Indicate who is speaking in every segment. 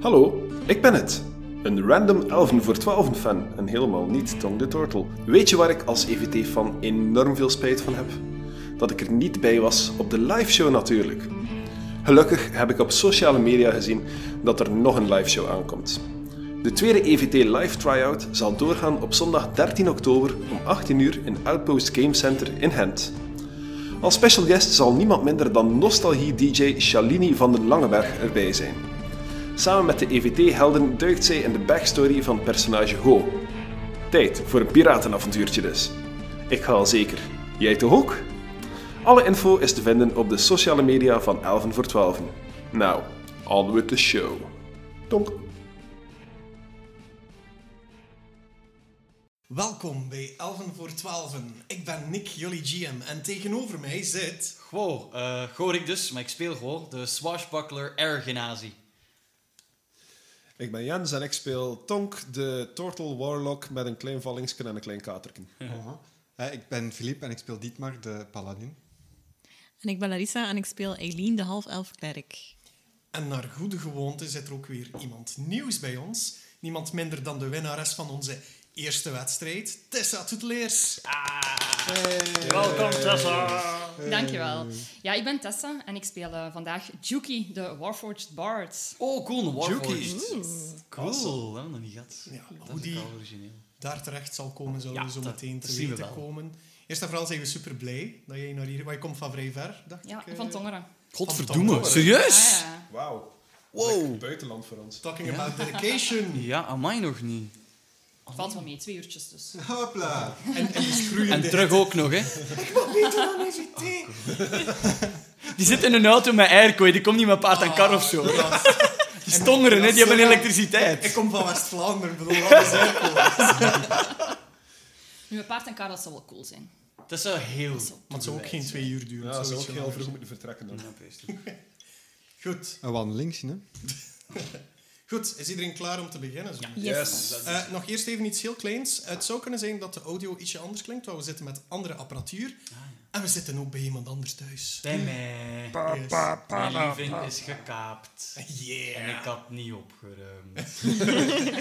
Speaker 1: Hallo, ik ben het. Een random 11 voor 12 fan en helemaal niet Tong the Turtle. Weet je waar ik als EVT-fan enorm veel spijt van heb? Dat ik er niet bij was op de liveshow natuurlijk. Gelukkig heb ik op sociale media gezien dat er nog een liveshow aankomt. De tweede EVT live tryout zal doorgaan op zondag 13 oktober om 18 uur in Outpost Game Center in Gent. Als special guest zal niemand minder dan nostalgie-DJ Shalini van den Langeberg erbij zijn. Samen met de E EVT-helden duikt zij in de backstory van personage Go. Tijd voor een piratenavontuurtje dus. Ik ga al zeker. Jij toch ook? Alle info is te vinden op de sociale media van 11 voor 12. Nou, on with the show. Donk.
Speaker 2: Welkom bij Elven voor Twaalfen. Ik ben Nick, jullie GM, en tegenover mij zit...
Speaker 3: Wow, eh goor ik dus, maar ik speel gewoon de swashbuckler Ergenazi.
Speaker 1: Ik ben Jens en ik speel Tonk, de Turtle Warlock met een klein vallingsken en een klein katerken.
Speaker 4: Aha. Eh, ik ben Filip en ik speel Dietmar, de paladin.
Speaker 5: En ik ben Larissa en ik speel Eileen, de half-elf klerk.
Speaker 2: En naar goede gewoonte zit er ook weer iemand nieuws bij ons. Niemand minder dan de winnares van onze eerste wedstrijd, Tessa Toetleers.
Speaker 6: Welkom Tessa.
Speaker 7: Dankjewel. Ja, ik ben Tessa en ik speel eh, vandaag Juki, de Warforged Bard.
Speaker 3: Oh, cool, een
Speaker 2: Juki.
Speaker 3: Warforged. Cool, dat hebben we nog niet gehad.
Speaker 2: Ja,
Speaker 3: dat
Speaker 2: hoe
Speaker 3: is
Speaker 2: die-
Speaker 3: ook al origineel.
Speaker 2: Daar terecht zal komen, zullen
Speaker 3: Ja,
Speaker 2: we zo
Speaker 3: dat-
Speaker 2: meteen te
Speaker 3: dat zien we
Speaker 2: weten
Speaker 3: wel.
Speaker 2: komen. Eerst en vooral zijn we super blij dat jij naar hier... Want je komt van vrij ver, dacht
Speaker 7: Ja,
Speaker 2: ik. eh,
Speaker 7: van Tongeren.
Speaker 2: Godverdomme,
Speaker 3: serieus?
Speaker 7: Ah, ja.
Speaker 1: Wauw.
Speaker 6: Oh.
Speaker 3: Wow.
Speaker 1: Buitenland voor ons.
Speaker 2: Talking about dedication.
Speaker 3: Ja, aan mij nog niet.
Speaker 7: Valt wel mee, twee uurtjes dus.
Speaker 4: Hopla!
Speaker 2: En, en dus groeiende... Ah,
Speaker 3: En terug ook nog, hè.
Speaker 2: Niet van EVT.
Speaker 3: Die zit in een auto met airco, die komt niet met paard en kar of zo. Die stongeren, hè, die hebben
Speaker 2: Ah. Ik
Speaker 3: elektriciteit.
Speaker 2: kom van West-Vlaanderen, bedoel, wat is eigenlijk?
Speaker 7: Nu, een paard en kar, dat zou wel cool zijn.
Speaker 3: Dat zou heel...
Speaker 2: Maar het zou ook geen twee uur duren.
Speaker 1: Ja,
Speaker 2: zoiets
Speaker 1: ze ook heel
Speaker 2: langer.
Speaker 1: vroeg moeten vertrekken dan.
Speaker 2: Goed.
Speaker 4: Een wandelingsje, hè?
Speaker 2: Goed, is iedereen klaar om te beginnen? Zo?
Speaker 5: Yes.
Speaker 2: Eh, nog eerst even iets heel kleins. Het zou kunnen zijn dat de audio ietsje anders klinkt, want we zitten met andere apparatuur. En we zitten ook bij iemand anders thuis.
Speaker 3: Bij mij.
Speaker 2: Yes.
Speaker 3: Mijn lieving is gekaapt. En
Speaker 2: Yeah.
Speaker 3: ik had niet opgeruimd.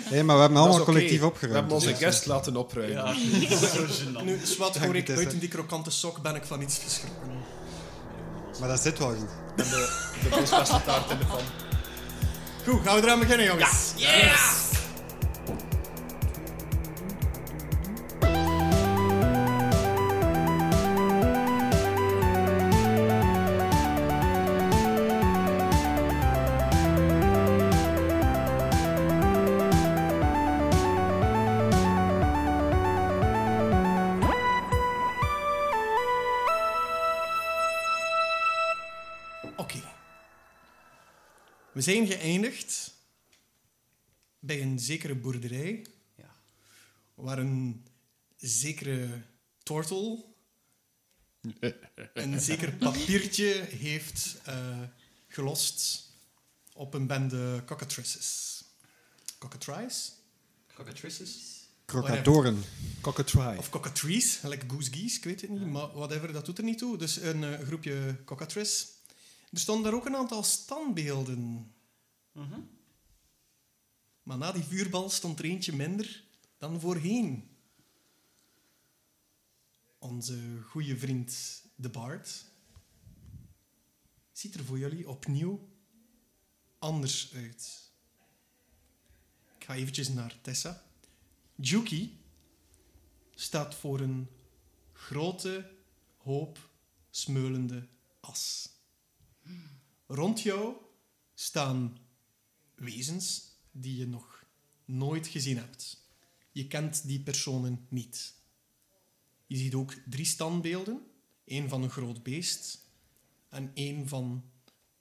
Speaker 4: Hé, maar we hebben allemaal
Speaker 1: Dat is oké.
Speaker 4: collectief opgeruimd.
Speaker 1: We hebben onze
Speaker 4: dus-
Speaker 1: guest laten opruimen.
Speaker 3: Ja, zo gênant.
Speaker 2: Nu, zwart hoor ik
Speaker 4: Tessa.
Speaker 2: buiten die krokante sok, ben ik van iets geschrokken.
Speaker 4: Maar dat zit wel goed.
Speaker 1: De boosbeste taart in de pan.
Speaker 2: Goed, gaan we eraan beginnen, jongens? Oké. We zijn geëindigd bij een zekere boerderij
Speaker 3: Ja.
Speaker 2: waar een zekere tortel een zeker papiertje heeft eh, gelost op een bende cockatrices. Cockatrice?
Speaker 3: Cockatrices?
Speaker 4: Krokatoren.
Speaker 1: Cockatry.
Speaker 2: Of cockatrice, like goose geese, ik weet het niet, maar whatever, dat doet er niet toe. Dus een eh, groepje cockatrice. Er stonden daar ook een aantal standbeelden.
Speaker 3: Mhm.
Speaker 2: Maar na die vuurbal stond er eentje minder dan voorheen. Onze goede vriend de Bard ziet er voor jullie opnieuw anders uit. Ik ga eventjes naar Tessa. Juki staat voor een grote hoop smeulende as. Rond jou staan wezens die je nog nooit gezien hebt. Je kent die personen niet. Je ziet ook drie standbeelden: één van een groot beest en één van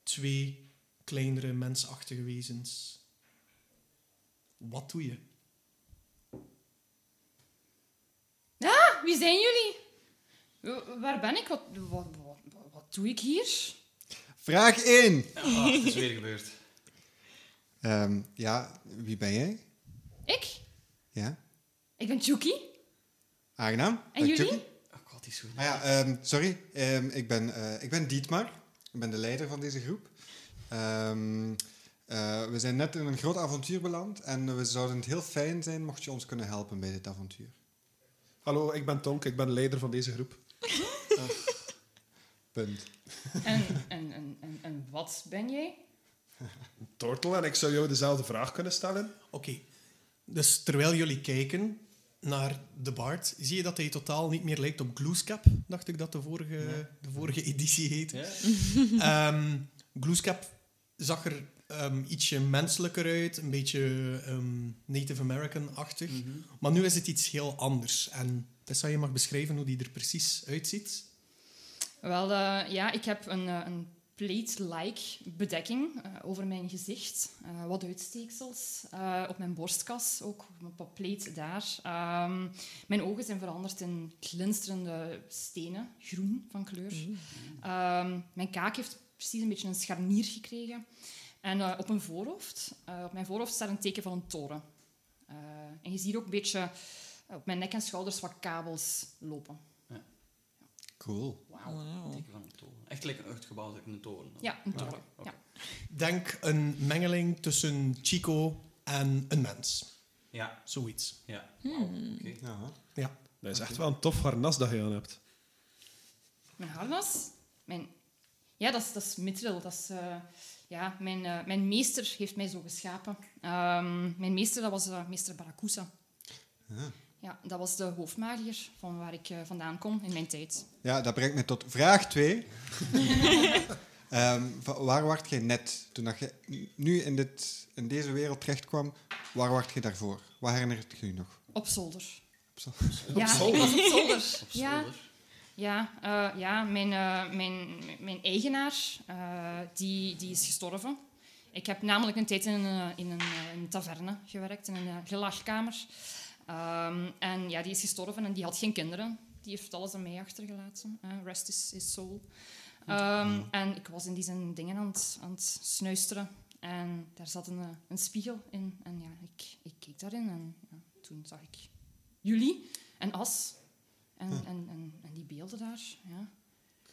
Speaker 2: twee kleinere mensachtige wezens. Wat doe je?
Speaker 7: Ja, Ah, wie zijn jullie? W- Waar ben ik? Wat, wat, wat, wat doe ik hier?
Speaker 4: Vraag 1.
Speaker 3: Ah, het is weer gebeurd.
Speaker 4: Ehm, ja, wie ben jij?
Speaker 7: Ik?
Speaker 4: Ja.
Speaker 7: Ik ben Juki.
Speaker 4: Aangenaam.
Speaker 7: En
Speaker 4: Dag,
Speaker 7: jullie?
Speaker 4: Chucky.
Speaker 3: Oh god, die is goed.
Speaker 4: Ah ja, ehm, sorry. Ehm, ik, ben, eh, ik ben Dietmar. Ik ben de leider van deze groep. Ehm, Eh, we zijn net in een groot avontuur beland en we zouden het heel fijn zijn mocht je ons kunnen helpen bij dit avontuur.
Speaker 1: Hallo, ik ben Tonk, ik ben leider van deze groep.
Speaker 4: Punt.
Speaker 7: En, en, en, en, en wat ben jij?
Speaker 1: Tortel, en ik zou jou dezelfde vraag kunnen stellen.
Speaker 2: Oké. Dus terwijl jullie kijken naar de Bard, zie je dat hij totaal niet meer lijkt op Gloescap, dacht ik dat de vorige, de vorige editie heette. Ehm Gloescap zag er ehm, ietsje menselijker uit, een beetje ehm, Native American-achtig.
Speaker 4: Mhm.
Speaker 2: Maar nu is het iets heel anders. En Tessa, je mag beschrijven hoe die er precies uitziet.
Speaker 7: Wel, eh, ja, ik heb een, eh, een plate-like bedekking eh, over mijn gezicht. Eh, wat uitsteeksels. eh, op mijn borstkas ook, op een plate daar. Ehm, mijn ogen zijn veranderd in glinsterende stenen, groen van kleur. Ehm, mijn kaak heeft precies een beetje een scharnier gekregen. En eh, op mijn voorhoofd, eh, op mijn voorhoofd staat een teken van een toren. Eh, en je ziet ook een beetje eh, op mijn nek en schouders wat kabels lopen.
Speaker 4: Cool.
Speaker 7: Wauw.
Speaker 5: Wauw.
Speaker 6: Teken van een toren. Echt gelijk een echt gebouw, zeg, een toren.
Speaker 7: Ja, een toren.
Speaker 6: oké.
Speaker 7: Ja.
Speaker 2: Denk een mengeling tussen Chico en een mens.
Speaker 6: Ja,
Speaker 2: Zoiets.
Speaker 6: ja. Wauw,
Speaker 7: Hmm.
Speaker 6: oké.
Speaker 4: Ja.
Speaker 2: Ja.
Speaker 1: Dat is echt wel een tof harnas dat je aan hebt.
Speaker 7: Mijn harnas? Mijn... Ja, dat is, dat is mithril. Dat is, eh, ja, mijn, eh, mijn meester heeft mij zo geschapen. Ehm, mijn meester, dat was eh, meester Barakusa.
Speaker 4: Ja.
Speaker 7: Ja, dat was de hoofdmagier van waar ik eh, vandaan kom in mijn tijd.
Speaker 4: Ja, dat brengt me tot vraag 2. waar wacht jij net toen dat je nu in, dit, in deze wereld terechtkwam? Waar wacht je daarvoor? Wat herinnert je je nog?
Speaker 7: Op zolder.
Speaker 4: Op zo-
Speaker 7: ja, ik was op zolder.
Speaker 6: Op
Speaker 7: ja,
Speaker 6: zolder.
Speaker 7: Ja, eh, ja mijn, eh, mijn, mijn eigenaar eh, die, die is gestorven. Ik heb namelijk een tijd in een, eh, in een, eh, een taverne gewerkt, in een eh, gelagkamer. Ehm, en ja, die is gestorven en die had geen kinderen. Die heeft alles aan mij achtergelaten. eh, rest is, is soul. Ehm, En ik was in die zin dingen aan het, aan het snuisteren. En daar zat een, eh, een spiegel in. En ja, ik, ik keek daarin en ja, toen zag ik jullie en As. En, en, en, en die beelden daar, ja.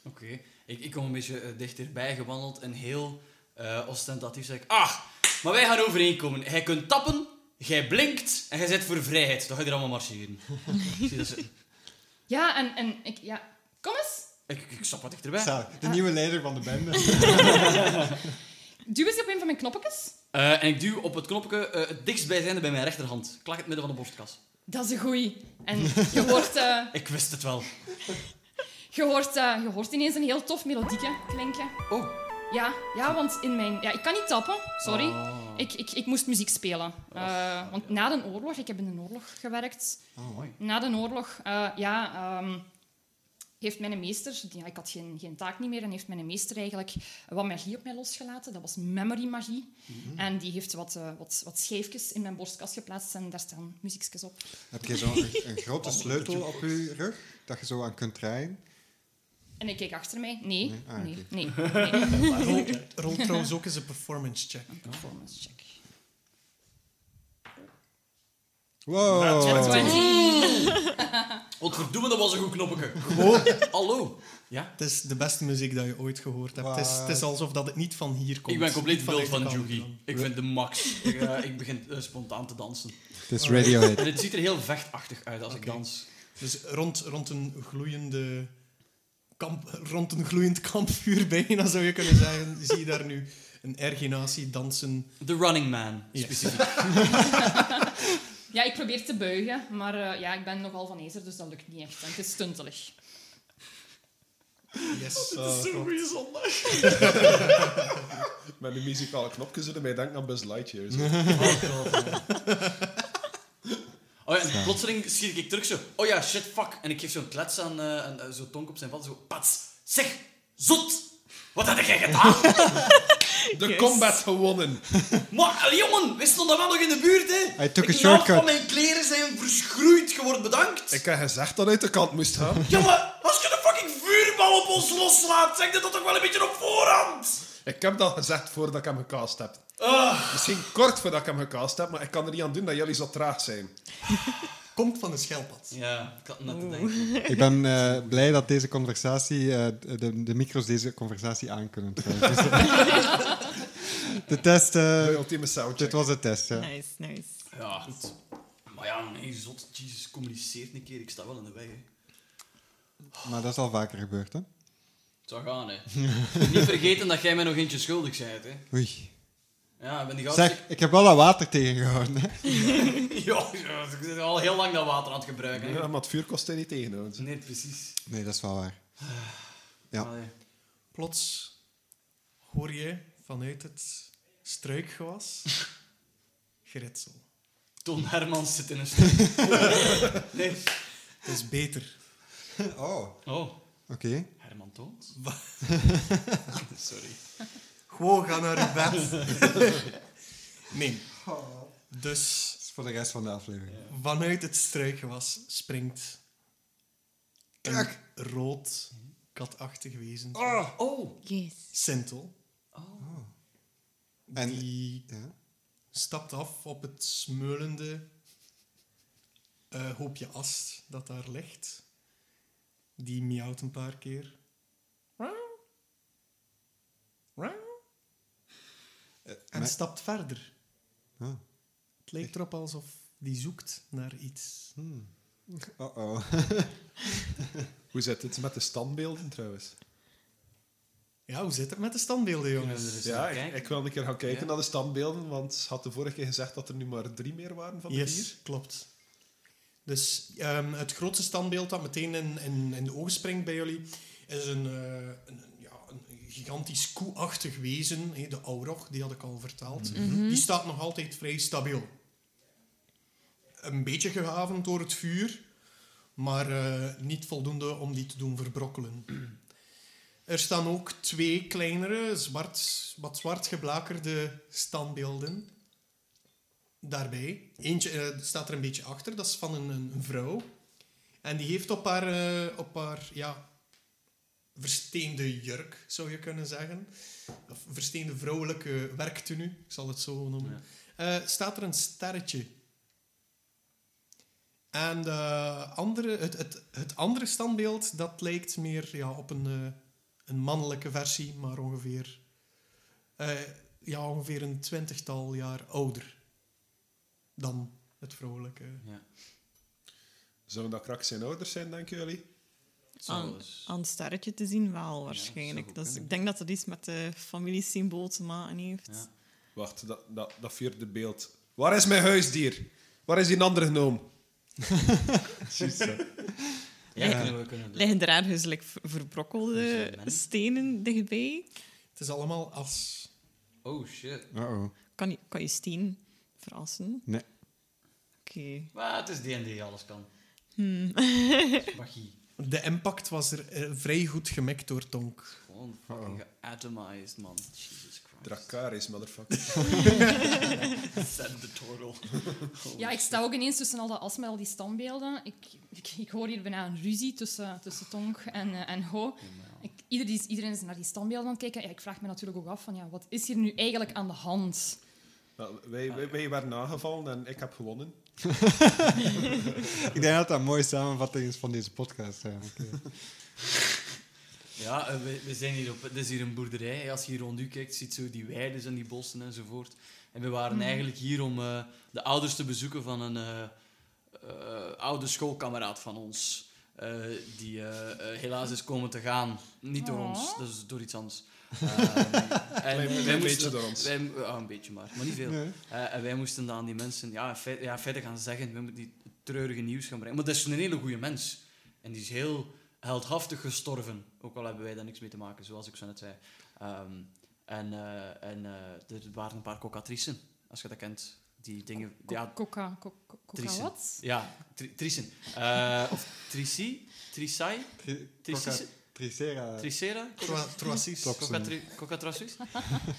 Speaker 6: Oké. Ik, ik kom een beetje eh, dichterbij gewandeld en heel eh, ostentatief zeg ik... Ah, maar wij gaan overeenkomen. Jij kunt tappen, jij blinkt en jij zit voor vrijheid. Dan ga je er allemaal marcheren. Ik Zie dat ze-
Speaker 7: Ja, en, en ik, ja, kom eens.
Speaker 6: ik, ik, ik stap wat dichterbij.
Speaker 4: Zo,
Speaker 2: Ah.
Speaker 4: de nieuwe leider van de bende.
Speaker 7: Duw eens op een van mijn knoppetjes.
Speaker 6: Eh, en ik duw op het knopje eh het dichtstbijzijnde bij mijn rechterhand. Klak het midden van de borstkas.
Speaker 7: Dat is een goeie. En je hoort, eh,
Speaker 6: Ik wist het wel.
Speaker 7: je hoort, eh, je hoort ineens een heel tof melodietje klinken.
Speaker 6: Oh.
Speaker 7: Ja, ja, want in mijn... Ja, ik kan niet tappen, sorry.
Speaker 6: Oh.
Speaker 7: Ik, ik, ik moest muziek spelen. Eh,
Speaker 6: Ah,
Speaker 7: want
Speaker 6: ja.
Speaker 7: na de oorlog, ik heb in de oorlog gewerkt.
Speaker 4: Oh, mooi.
Speaker 7: Na de oorlog, eh, ja, ehm, heeft mijn meester, ja, ik had geen, geen taak niet meer, en heeft mijn meester eigenlijk wat magie op mij losgelaten. Dat was memory magie.
Speaker 4: Mhm.
Speaker 7: En die heeft wat, eh, wat, wat schijfjes in mijn borstkas geplaatst en daar staan muziekjes op.
Speaker 4: Heb je zo'n een, een grote sleutel op je rug dat je zo aan kunt draaien?
Speaker 7: En ik keek achter mij. Nee, nee,
Speaker 4: Nee? Ah,
Speaker 7: nee,
Speaker 4: oké.
Speaker 7: nee,
Speaker 2: Rol, rol trouwens ook eens een performance check.
Speaker 7: Een performance check.
Speaker 4: Wow.
Speaker 6: Wat verdoemen, dat was een goed knopje. Hallo. Ja?
Speaker 2: Het is de beste muziek dat je ooit gehoord hebt. Het is, het is alsof dat het niet van hier komt.
Speaker 6: Ik ben compleet
Speaker 2: Niet vanuit
Speaker 6: wild van
Speaker 2: de kant
Speaker 6: Jugi.
Speaker 2: dan.
Speaker 6: Ik vind de max. Ik, eh, ik begin eh, spontaan te dansen.
Speaker 4: Het is Radiohead.
Speaker 6: En het ziet er heel vechtachtig uit als ik
Speaker 2: Oké.
Speaker 6: dans.
Speaker 2: Dus rond, rond een gloeiende... Kamp, rond een gloeiend kampvuur bijna, zou je kunnen zeggen, zie je daar nu een erginatie dansen.
Speaker 6: The Running Man,
Speaker 2: Ja.
Speaker 6: specifiek.
Speaker 7: Ja, ik probeer te buigen, maar eh, ja, ik ben nogal van ezer, dus dat lukt niet echt. En het is stuntelig.
Speaker 2: Yes.
Speaker 1: Met de muzikale knopjes zitten mij denkt aan Buzz Lightyear. zo.
Speaker 6: Oh ja, en plotseling schiet ik terug zo. Oh ja, shit, fuck. En ik geef zo'n klets aan, eh aan eh, zo'n tonk op zijn vat. Zo, pats. Zeg, zot. Wat heb jij gedaan?
Speaker 1: De combat gewonnen.
Speaker 6: Maar, eh, jongen, we stonden wel nog in de buurt, hè.
Speaker 4: Hij took a
Speaker 6: De helft
Speaker 4: shortcut.
Speaker 6: van mijn kleren zijn verschroeid. Je wordt bedankt.
Speaker 1: Ik heb gezegd dat uit de kant moest gaan.
Speaker 6: Jongen, als je een fucking vuurbal op ons loslaat, zeg dat dat toch wel een beetje op voorhand.
Speaker 1: Ik heb dat gezegd voordat ik hem gecast heb.
Speaker 6: Ah,
Speaker 1: Misschien kort voordat ik hem gecast heb, maar ik kan er niet aan doen dat jullie zo traag zijn.
Speaker 2: Komt van een schelpad.
Speaker 6: Ja, ik had net te denken.
Speaker 4: Ik ben eh, blij dat deze conversatie, eh, de, de micro's deze conversatie aan kunnen. trouwen. Dus, eh, De test, eh,
Speaker 1: De ultieme soundcheck.
Speaker 4: dit was de test. Ja.
Speaker 5: Nice, nice.
Speaker 6: Ja, goed. Maar ja, nee, zot. Jezus, communiceert een keer. Ik sta wel in de weg, hè.
Speaker 4: Maar dat is al vaker gebeurd, hè?
Speaker 6: Het zou gaan, hè. Niet vergeten dat jij mij nog eentje schuldig bent, hè.
Speaker 4: Oei.
Speaker 6: Ja, ik ben die gast...
Speaker 4: Zeg, ik heb wel dat water tegengehouden. Hè?
Speaker 6: Ja, ja, ik ben al heel lang dat water aan het gebruiken, hè.
Speaker 1: Ja, maar het vuur kost hij niet tegenhouden.
Speaker 6: Nee, precies.
Speaker 4: Nee, dat is wel waar. Ja.
Speaker 6: Allee.
Speaker 2: Plots hoor je vanuit het struikgewas geritsel.
Speaker 6: Ton Hermans zit in een stuk. nee.
Speaker 2: Het is beter.
Speaker 4: Oh. Oké.
Speaker 6: Oh, Herman Toons? Sorry.
Speaker 2: Gewoon ga naar je bed. nee. Dus
Speaker 4: Dat is voor de rest van de aflevering.
Speaker 2: vanuit het struikgewas springt een rood katachtig wezen.
Speaker 6: Oh! Oh!
Speaker 5: Yes.
Speaker 2: Sintel.
Speaker 4: Oh. En-
Speaker 2: Die
Speaker 4: Ja.
Speaker 2: stapt af op het smeulende eh, hoopje as dat daar ligt. Die miauwt een paar keer. Rauw. Rauw. En
Speaker 4: Eh, maar-
Speaker 2: stapt verder.
Speaker 4: Ah.
Speaker 2: Het lijkt erop alsof die zoekt naar iets.
Speaker 4: Oh oh.
Speaker 1: Hoe zit het met de standbeelden trouwens?
Speaker 2: Ja, hoe zit het met de standbeelden, jongens?
Speaker 6: Kunnen we er eens
Speaker 1: Ja,
Speaker 6: naar
Speaker 1: ik,
Speaker 6: kijken?
Speaker 1: ik wil een keer gaan kijken
Speaker 6: Ja.
Speaker 1: naar de standbeelden, want ze had de vorige keer gezegd dat er nu maar drie meer waren van de vier.
Speaker 2: Yes, klopt. Dus ehm, het grootste standbeeld dat meteen in, in, in de ogen springt bij jullie is een, eh, een, ja, een gigantisch koeachtig wezen, hè, de Aurog, die had ik al verteld.
Speaker 1: Mhm.
Speaker 2: Die staat nog altijd vrij stabiel. Een beetje gehavend door het vuur, maar eh, niet voldoende om die te doen verbrokkelen. Er staan ook twee kleinere, zwart, wat zwart geblakerde standbeelden daarbij. Eentje eh, staat er een beetje achter, dat is van een, een vrouw. En die heeft op haar, eh, op haar ja, versteende jurk, zou je kunnen zeggen, of versteende vrouwelijke werktenu, ik zal het zo noemen, Eh, staat er een sterretje. En de andere, het, het, het andere standbeeld, dat lijkt meer ja, op een, eh, een mannelijke versie, maar ongeveer, eh, ja, ongeveer een twintigtal jaar ouder dan het vrouwelijke.
Speaker 6: Ja.
Speaker 1: Zouden dat krak zijn ouders zijn, denken jullie?
Speaker 6: Zo
Speaker 5: Aan,
Speaker 6: dus.
Speaker 5: aan het sterretje te zien wel,
Speaker 6: dat zou
Speaker 5: waarschijnlijk.
Speaker 6: goed
Speaker 5: dus
Speaker 6: kunnen.
Speaker 5: ik denk dat dat iets met de familiesymbool te maken heeft.
Speaker 6: Ja.
Speaker 1: Wacht, dat, dat, dat vierde beeld. Waar is mijn huisdier? Waar is die andere gnoom?
Speaker 6: Ja, kunnen we kunnen we doen.
Speaker 5: Liggen er ergens like, ver- verbrokkelde
Speaker 6: Zijn er
Speaker 5: stenen dichtbij?
Speaker 2: Het is allemaal as.
Speaker 6: Oh, shit.
Speaker 4: Oh oh.
Speaker 5: Kan je, kan je steen verrassen?
Speaker 4: Nee.
Speaker 5: Oké.
Speaker 6: Maar het is D&D, alles kan. Magie.
Speaker 2: De impact was er eh, vrij goed gemikt door Tonk.
Speaker 6: Gewoon fucking geatomized, man. Jesus Christ.
Speaker 1: Dracaris, motherfucker.
Speaker 6: Send the Oh turtle.
Speaker 7: Ja, ik sta ook ineens tussen al dat as met al die standbeelden. Ik, ik, ik hoor hier bijna een ruzie tussen, tussen Tonk en, eh, en Ho. Ik, iedereen, is, iedereen is naar die standbeelden aan het kijken. Ja, ik vraag me natuurlijk ook af van, ja, wat is hier nu eigenlijk aan de hand?
Speaker 1: Nou, wij, wij, wij werden aangevallen en ik heb gewonnen.
Speaker 4: Ik denk dat dat een mooie samenvatting is van deze podcast. eigenlijk.
Speaker 6: Ja, eh, we, we zijn hier op... Dit is hier een boerderij. Als je hier rond u kijkt, ziet zo die weides en die bossen enzovoort. En we waren eigenlijk hier om eh, de ouders te bezoeken van een eh, eh, oude schoolkameraad van ons. eh, die eh, eh, helaas is komen te gaan. Niet door
Speaker 7: Oh.
Speaker 6: ons, dus door iets anders. Ehm, en
Speaker 1: Klein- klein
Speaker 6: wij
Speaker 1: beetje
Speaker 6: moesten,
Speaker 1: door ons.
Speaker 6: wij, ah, een beetje maar, maar niet veel.
Speaker 4: Nee.
Speaker 6: Eh, en wij moesten dan aan die mensen ja, in feite- ja, verder gaan zeggen, we moeten die treurige nieuws gaan brengen. Maar dat is een hele goede mens. En die is heel heldhaftig gestorven. Ook al hebben wij daar niks mee te maken, zoals ik zo net zei. Ehm, en eh, en eh, er waren een paar cocatrices, als je dat kent. Die dingen...
Speaker 7: Ko-
Speaker 6: ja,
Speaker 7: Coca, co- co- coca
Speaker 6: Trissen.
Speaker 7: wat?
Speaker 6: ja, tri- trissen. Eh, of trici? Trisai?
Speaker 4: Tri-
Speaker 6: Tricis-
Speaker 4: coca- Tricera.
Speaker 6: Tricera?
Speaker 2: Troasis.
Speaker 4: Klopt.
Speaker 6: Cocatrassus.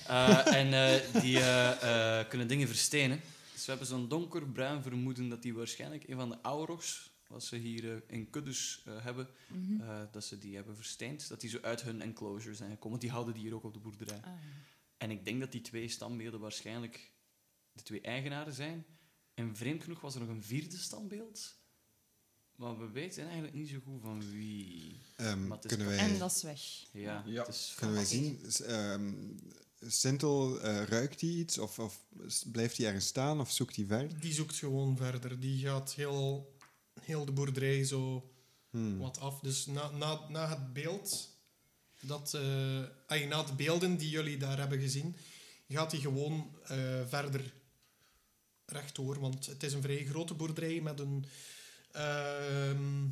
Speaker 6: Eh en eh, die eh, eh, kunnen dingen verstenen. Dus we hebben zo'n donkerbruin vermoeden dat die waarschijnlijk een van de aurochs, wat ze hier eh, in kuddes eh, hebben,
Speaker 7: Mhm.
Speaker 6: eh, dat ze die hebben versteend. Dat die zo uit hun enclosure zijn gekomen. Want die houden die hier ook op de boerderij.
Speaker 7: Ah.
Speaker 6: En ik denk dat die twee standbeelden waarschijnlijk de twee eigenaren zijn. En vreemd genoeg was er nog een vierde standbeeld. Maar we weten eigenlijk niet zo goed van wie.
Speaker 4: Ehm,
Speaker 6: Maar het is
Speaker 4: kunnen wij,
Speaker 7: En dat is weg.
Speaker 6: Ja,
Speaker 1: Ja.
Speaker 6: het is
Speaker 4: kunnen wij
Speaker 7: Oké.
Speaker 4: zien? s- ehm, Sintel, eh, ruikt hij iets? Of, of s- blijft hij ergens staan? Of zoekt hij verder?
Speaker 2: Die zoekt gewoon verder. Die gaat heel, heel de boerderij zo
Speaker 4: Hmm.
Speaker 2: wat af. Dus na, na, na het beeld, dat, eh, ay, na het beelden die jullie daar hebben gezien, gaat hij gewoon eh, verder rechtdoor. Want het is een vrij grote boerderij met een... ehm,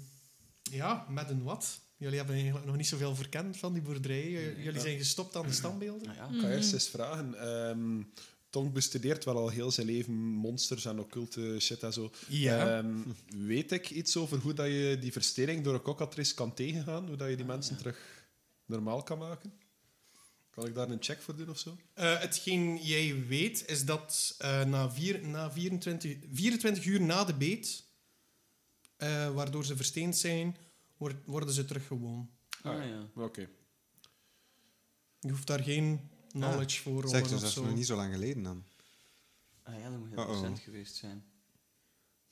Speaker 2: ja, met een wat? Jullie hebben eigenlijk nog niet zoveel verkend van die boerderij. Eh,
Speaker 6: Nee,
Speaker 2: Jullie
Speaker 1: ja.
Speaker 2: zijn gestopt aan de standbeelden.
Speaker 6: Nou ja.
Speaker 1: Ik ga eerst eens vragen. Ehm Tong bestudeert wel al heel zijn leven monsters en occulte shit en zo. Ehm, weet ik iets over hoe dat je die verstering door een kokkatrice kan tegengaan? Hoe dat je die mensen terug normaal kan maken? Kan ik daar een check voor doen of zo?
Speaker 2: Eh, hetgeen jij weet is dat eh, na, vier, na 24, 24 uur na de beet, eh, waardoor ze versteend zijn, wordt- worden ze terug gewoon.
Speaker 6: Ah, ja.
Speaker 1: Oké.
Speaker 2: Je hoeft daar geen knowledge voor rollen
Speaker 4: Ah, Zeg, dus
Speaker 2: of
Speaker 4: dat is
Speaker 2: zo.
Speaker 4: nog niet zo lang geleden dan.
Speaker 6: Ah ja, dat moet heel
Speaker 4: Uh-oh.
Speaker 6: recent geweest zijn.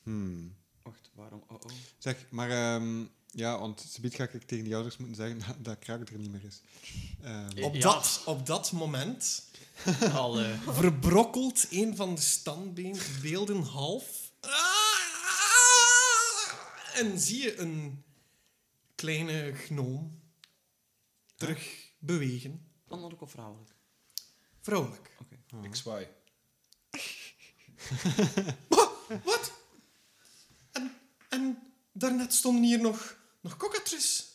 Speaker 4: Hmm.
Speaker 6: Wacht, waarom? Oh, oh.
Speaker 4: Zeg, maar ehm, ja, want subiet ga ik tegen die ouders moeten zeggen dat, dat Kraak er niet meer is. Ehm,
Speaker 6: Ja.
Speaker 2: op, dat, op dat moment
Speaker 6: Al, eh,
Speaker 2: verbrokkelt een van de standbeelden half. Ah! En zie je een kleine gnoom terug bewegen.
Speaker 6: mannelijk of vrouwelijk?
Speaker 2: Vrolijk.
Speaker 6: Oké.
Speaker 1: Ik zwaai.
Speaker 2: Wat? En, en daarnet stonden hier nog, nog cockatrices.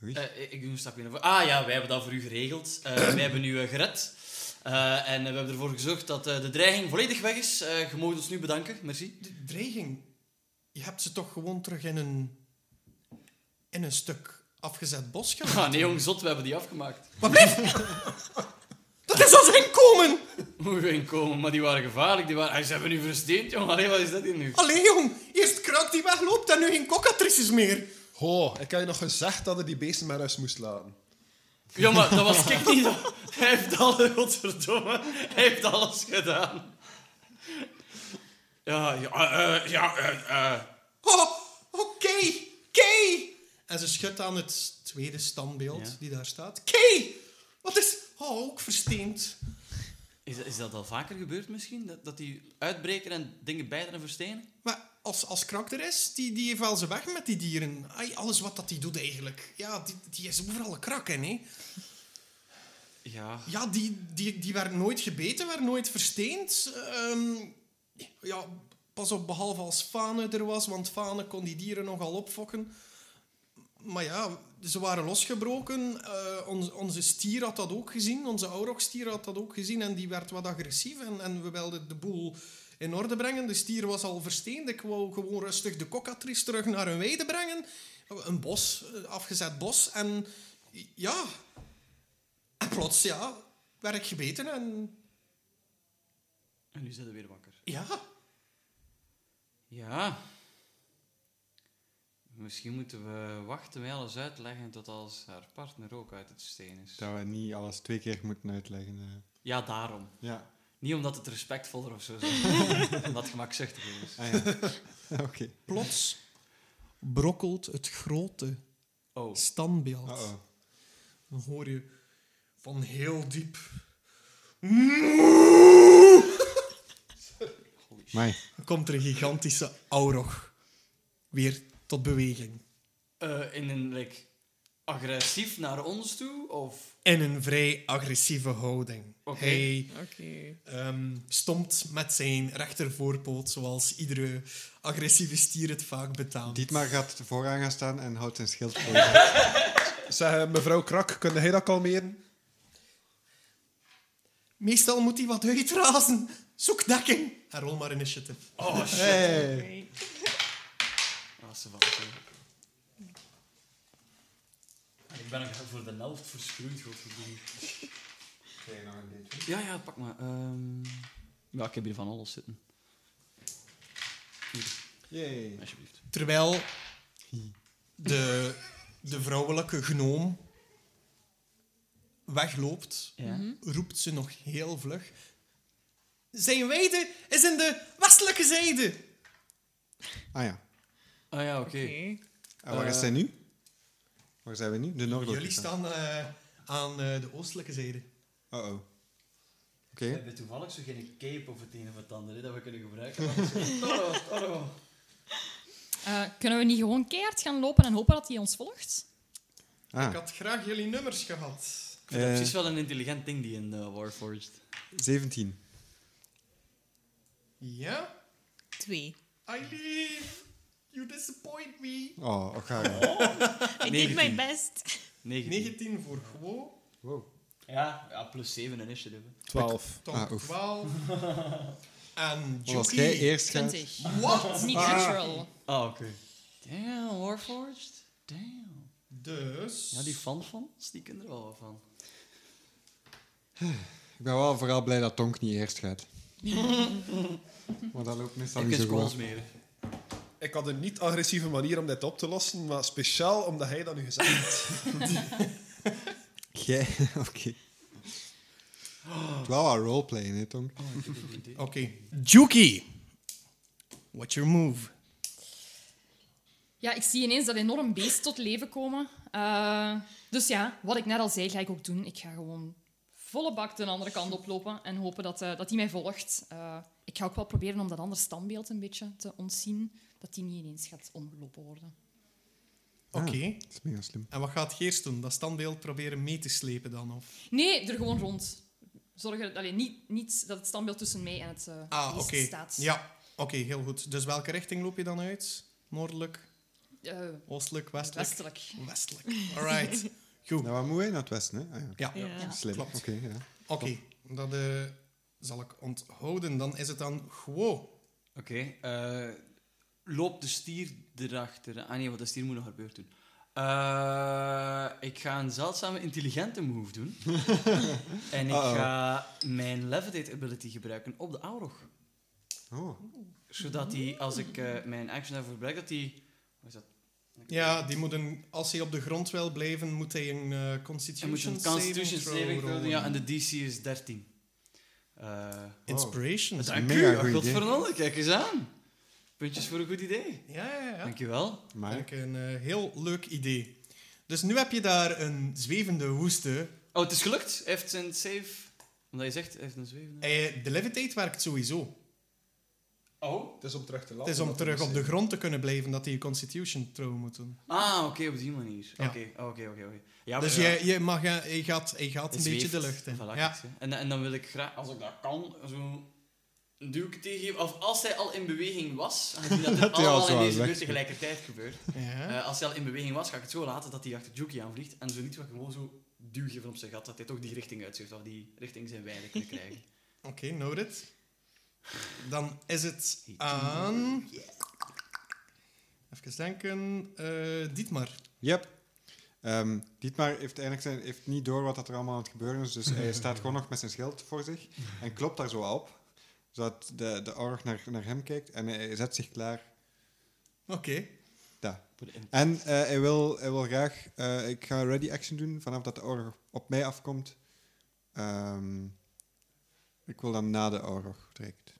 Speaker 6: Eh, ik- ik doe een stapje naar voren. Ah ja, wij hebben dat voor u geregeld. Eh, wij hebben u eh, gered. Eh, en eh, we hebben ervoor gezorgd dat eh, de dreiging volledig weg is. Eh je mag ons nu bedanken, merci.
Speaker 2: De dreiging. Je hebt ze toch gewoon terug in een, in een stuk afgezet bos gedaan?
Speaker 6: Ah, nee, jong, zot, we hebben die afgemaakt.
Speaker 2: Maar blijf! Dat is als inkomen!
Speaker 6: Mogen we inkomen, maar die waren gevaarlijk. Die waren... Ah, ze hebben nu versteend, jong. Allee, wat is dat hier nu?
Speaker 2: Allee jong, eerst kruik die wegloopt en nu geen cockatrices meer.
Speaker 1: Ho, Oh, ik had je nog gezegd dat je die beesten maar rust moest laten.
Speaker 6: Ja, maar dat was ik niet. dat- Hij heeft alles, godverdomme. Hij heeft alles gedaan. Ja, ja, eh, eh, ja, eh, eh.
Speaker 2: Oh, oké, Kay! En ze schudt aan het tweede standbeeld
Speaker 6: Ja.
Speaker 2: die daar staat. Kay! Wat is... Oh, ook versteend.
Speaker 6: Is, dat- is dat al vaker gebeurd misschien? Dat, dat die uitbreken en dingen bijten en verstenen?
Speaker 2: Maar als, als krak er is, die, die heeft wel ze weg met die dieren. Ai, alles wat dat die doet eigenlijk. Ja, die, die is overal een krak in, hè.
Speaker 6: Ja.
Speaker 2: Ja, die, die, die werd nooit gebeten, werd nooit versteend. Ehm, ja, pas op, behalve als Fane er was, want Fane kon die dieren nogal opfokken. Maar ja, ze waren losgebroken. Eh, ons- onze stier had dat ook gezien, onze Aurok-stier had dat ook gezien en die werd wat agressief en, en we wilden de boel in orde brengen. De stier was al versteend. Ik wou gewoon rustig de kokkatrice terug naar hun weide brengen. Een bos, een afgezet bos. En ja, en plots, ja, werd ik gebeten en
Speaker 6: En nu zijn we weer wakker.
Speaker 2: ja.
Speaker 6: Ja. Misschien moeten we wachten bij alles uitleggen tot als haar partner ook uit het steen is.
Speaker 4: dat we niet alles twee keer moeten uitleggen. eh.
Speaker 6: Ja, daarom.
Speaker 4: Ja,
Speaker 6: Niet omdat het respectvoller of zo is. omdat het gemakzuchtiger is.
Speaker 4: ah, ja. oké.
Speaker 2: Plots brokkelt het grote
Speaker 6: Oh.
Speaker 2: standbeeld.
Speaker 4: Uh-oh.
Speaker 2: Dan hoor je van heel diep.
Speaker 4: Mai.
Speaker 2: Dan komt er een gigantische aurog weer tot beweging.
Speaker 6: Eh, in een, like, agressief naar ons toe? Of...
Speaker 2: In een vrij agressieve houding.
Speaker 6: Oké.
Speaker 2: Hij
Speaker 5: Oké.
Speaker 2: ehm, stompt met zijn rechtervoorpoot, zoals iedere agressieve stier het vaak betaamt.
Speaker 4: Dietmar gaat vooraan gaan staan en houdt zijn schild voor. zich.
Speaker 1: Zeg, eh, mevrouw Krak, kun jij dat kalmeren?
Speaker 2: Meestal moet hij wat uitrazen. Zoek dekking. En rol maar initiative.
Speaker 6: Oh, shit.
Speaker 4: Hey.
Speaker 6: Ah, ze valt hè. Ik ben nog voor de helft verschroeid, godverdomme. Ja, ja, pak maar. Ehm ja, ik heb hier van alles zitten.
Speaker 4: Yay.
Speaker 6: Alsjeblieft.
Speaker 2: Terwijl de, de vrouwelijke gnoom wegloopt,
Speaker 6: Ja.
Speaker 2: roept ze nog heel vlug. Zijn weide is in de westelijke zijde.
Speaker 4: Ah ja.
Speaker 6: Ah ja, oké.
Speaker 4: En waar is
Speaker 6: Eh.
Speaker 4: zij nu? Waar zijn we nu? De noordelijke.
Speaker 2: Jullie staan eh, aan eh, de oostelijke zijde.
Speaker 4: Oh oh. Oké.
Speaker 6: We hebben toevallig zo geen cape of het een of het ander hè, dat we kunnen gebruiken. maar dat is- Toro, toro.
Speaker 7: Eh, kunnen we niet gewoon keihard gaan lopen en hopen dat hij ons volgt?
Speaker 2: Ik
Speaker 4: Ah,
Speaker 2: had graag jullie nummers gehad.
Speaker 6: Ik vind dat
Speaker 4: Eh.
Speaker 6: precies wel een intelligent ding die in eh, Warforged.
Speaker 4: 17.
Speaker 2: Ja?
Speaker 5: Twee.
Speaker 2: Eileen, you disappoint me.
Speaker 4: Oh, och, ga je.
Speaker 5: Ik deed mijn best.
Speaker 6: 19.
Speaker 2: 19 voor Gwo,
Speaker 4: Wow.
Speaker 6: Ja, ja, plus 7 een initiative.
Speaker 8: 12.
Speaker 2: Tom
Speaker 4: Ah, oef.
Speaker 2: 12. En
Speaker 4: Wat als jij
Speaker 2: Juki.
Speaker 4: eerst gaat...
Speaker 7: 20.
Speaker 2: Wat?
Speaker 7: Niet natural.
Speaker 6: Ah, oké. Damn, Warforged. Damn.
Speaker 2: Dus...
Speaker 6: Ja, die fanfans, die kunnen er wel wat van.
Speaker 4: Ik ben wel vooral blij dat Tonk niet eerst gaat. Want dat loopt meestal
Speaker 6: Ik
Speaker 4: niet
Speaker 6: is
Speaker 4: zo goed. af.
Speaker 6: meer.
Speaker 1: Ik had een niet-agressieve manier om dit op te lossen, maar speciaal omdat hij dat nu gezegd heeft.
Speaker 4: Jij? Oké. Het is wel wat roleplayen, hè, Tonk?
Speaker 2: Oké. Juki. What's your move?
Speaker 7: Ja, ik zie ineens dat enorm beest tot leven komen. Eh, dus ja, wat ik net al zei, ga ik ook doen. Ik ga gewoon volle bak de andere kant oplopen en hopen dat, eh, dat hij mij volgt. Eh, ik ga ook wel proberen om dat andere standbeeld een beetje te ontzien. Dat die niet ineens gaat omgelopen worden.
Speaker 2: Oké.
Speaker 4: Dat is mega slim.
Speaker 2: En wat gaat Geers doen? Dat standbeeld proberen mee te slepen dan? Of?
Speaker 7: Nee, er gewoon rond. Zorgen alleen niet, niet dat het standbeeld tussen mij en het eh
Speaker 2: Ah,
Speaker 7: beest
Speaker 2: oké.
Speaker 7: staat.
Speaker 2: Ja, oké, heel goed. Dus welke richting loop je dan uit? Noordelijk,
Speaker 7: Eh,
Speaker 2: oostelijk, westelijk?
Speaker 7: westelijk.
Speaker 2: Westelijk. All right. Goed.
Speaker 4: Nou, waar moet hij? Naar het westen, hè? Ah, ja.
Speaker 2: Ja,
Speaker 5: Ja.
Speaker 4: Slim.
Speaker 2: Klopt.
Speaker 4: Oké, ja.
Speaker 2: oké. Dat eh, zal ik onthouden. Dan is het dan gewoon.
Speaker 6: Oké, eh loop de stier erachter. Ah nee, want de stier moet nog haar beurt doen. Eh, ik ga een zeldzame intelligente move doen. en ik
Speaker 4: Uh-oh.
Speaker 6: ga mijn levitate ability gebruiken op de Aurog.
Speaker 4: Oh.
Speaker 6: Zodat die, als ik eh, mijn action daarvoor gebruik, dat die... Wat is dat?
Speaker 2: Ja, die moet een, als hij op de grond wil blijven, moet hij een eh
Speaker 6: Je moet
Speaker 2: Constitution,
Speaker 6: een constitution
Speaker 2: throw
Speaker 6: saving throw doen,
Speaker 2: rollen.
Speaker 6: ja, en de DC is 13. Eh
Speaker 2: Inspiration.
Speaker 6: dat is
Speaker 4: een
Speaker 6: een
Speaker 4: mega goed idee.
Speaker 6: godverdomme, kijk eens aan. Puntjes voor een goed idee.
Speaker 2: Ja, ja, ja.
Speaker 6: Dankjewel.
Speaker 4: Maar
Speaker 2: Vind ik een eh, heel leuk idee. Dus nu heb je daar een zwevende woeste.
Speaker 6: Oh, het is gelukt. Hij heeft zijn save... Omdat je zegt, hij heeft een zwevende...
Speaker 2: Eh, de levitate werkt sowieso.
Speaker 6: Oh.
Speaker 1: Het is om terug te laten.
Speaker 2: Het is om terug op de grond te kunnen blijven dat die constitution throw moet doen.
Speaker 6: Ah, oké, op die manier.
Speaker 2: Ja.
Speaker 6: Oké, oh, oké, oké, oké. Ja,
Speaker 2: dus
Speaker 6: maar ja,
Speaker 2: je, je, mag, eh, je gaat, je gaat
Speaker 6: het
Speaker 2: een beetje
Speaker 6: zweeft.
Speaker 2: de lucht in.
Speaker 6: Voilà,
Speaker 2: Ja.
Speaker 6: kijk, hè. En, en dan wil ik graag, als ik dat kan, zo een duwke tegengeven. Of als hij al in beweging was, aangezien dat dit
Speaker 4: hij al
Speaker 6: allemaal
Speaker 4: zo
Speaker 6: in
Speaker 4: aan
Speaker 6: deze
Speaker 4: weg
Speaker 6: beurt
Speaker 4: zit.
Speaker 6: tegelijkertijd gebeurt.
Speaker 2: Ja.
Speaker 6: Eh, als hij al in beweging was, ga ik het zo laten dat hij achter Juki aanvliegt. En zo niet, wat gewoon zo duw geven op zijn gat, dat hij toch die richting uitzuigt. Of die richting zijn weinig kunnen krijgen.
Speaker 2: Oké, noted. Dan is het aan... Even denken. eh Dietmar.
Speaker 4: Yep. Ehm, Dietmar heeft eigenlijk zijn, heeft niet door wat dat er allemaal aan het gebeuren is, dus hij staat gewoon nog met zijn schild voor zich en klopt daar zo op, zodat de, de org naar, naar hem kijkt en hij zet zich klaar.
Speaker 2: Oké.
Speaker 4: Daar. En eh, hij, wil, hij wil graag, eh, ik ga ready action doen vanaf dat de org op mij afkomt. Ehm, ik wil dan na de org direct.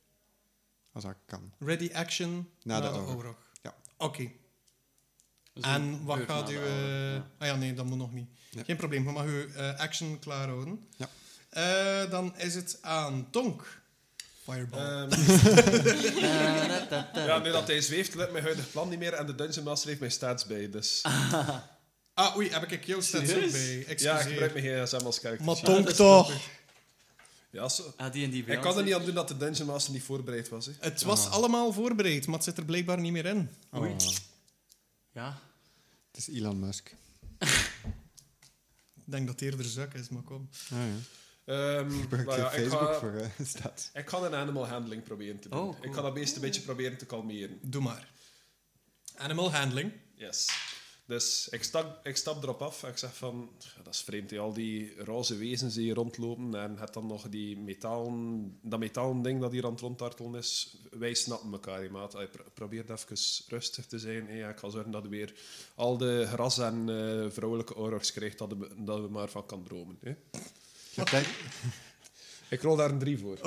Speaker 4: Als dat kan.
Speaker 2: Ready action. eh,
Speaker 4: Na de
Speaker 2: oorlog.
Speaker 4: oorlog. Ja.
Speaker 2: Oké.
Speaker 6: Dus
Speaker 2: En
Speaker 6: een
Speaker 2: wat
Speaker 6: beurt
Speaker 2: gaat
Speaker 6: na
Speaker 2: u...
Speaker 6: de
Speaker 2: eh,
Speaker 6: oude,
Speaker 2: Ah ja, nee, dat moet nog niet.
Speaker 4: Ja.
Speaker 2: Geen probleem, we mag uw eh, action klaar houden.
Speaker 4: Ja.
Speaker 2: Eh, dan is het aan Tonk.
Speaker 6: Eh.
Speaker 2: Fireball.
Speaker 6: ja.
Speaker 1: Ehm, ja, nu dat hij zweeft, lukt mijn huidig plan niet meer en de Dungeon Master heeft mijn stats bij. Dus
Speaker 2: ah, oei, heb ik jouw stats ook
Speaker 6: Serieus?
Speaker 2: bij. Excuseer.
Speaker 1: ja, ik gebruik mijn gsm als karakter.
Speaker 2: Maar Tonk
Speaker 6: dat is
Speaker 2: toch.
Speaker 1: Ja, zo.
Speaker 6: Ah, die en die
Speaker 1: Ik
Speaker 6: bij ons,
Speaker 1: kan er niet aan doen dat de Dungeon Master niet voorbereid was. Hè.
Speaker 2: Het was
Speaker 4: Ah.
Speaker 2: allemaal voorbereid, maar het zit er blijkbaar niet meer in.
Speaker 4: Oh, het
Speaker 6: Ja.
Speaker 4: is Elon
Speaker 1: Ah,
Speaker 4: Musk.
Speaker 2: Ik denk dat het eerder zak is, maar kom.
Speaker 4: Ah, ja.
Speaker 1: Ehm,
Speaker 4: Gebruikt
Speaker 1: maar ja,
Speaker 4: hij Facebook
Speaker 1: ik ga,
Speaker 4: voor eh staat.
Speaker 1: Ik ga een animal handling proberen te doen.
Speaker 6: Oh, cool.
Speaker 1: Ik ga dat beest een beetje proberen te kalmeren.
Speaker 2: Doe maar. Animal handling.
Speaker 1: Yes. Dus ik stap, ik stap erop af en ik zeg van... "Ja, Dat is vreemd, hè. al die roze wezens die hier rondlopen. En het dan nog die metalen, dat metalen ding dat hier aan het rondtartelen is. Wij snappen elkaar, hè, maat. Allee, pro- probeer even rustig te zijn. hè. Ja, ik ga zorgen dat we weer al de gras en eh, vrouwelijke aurors krijgt dat we, dat we maar van kan dromen. hè."
Speaker 4: Ik denk,
Speaker 1: Ik rol daar een drie voor.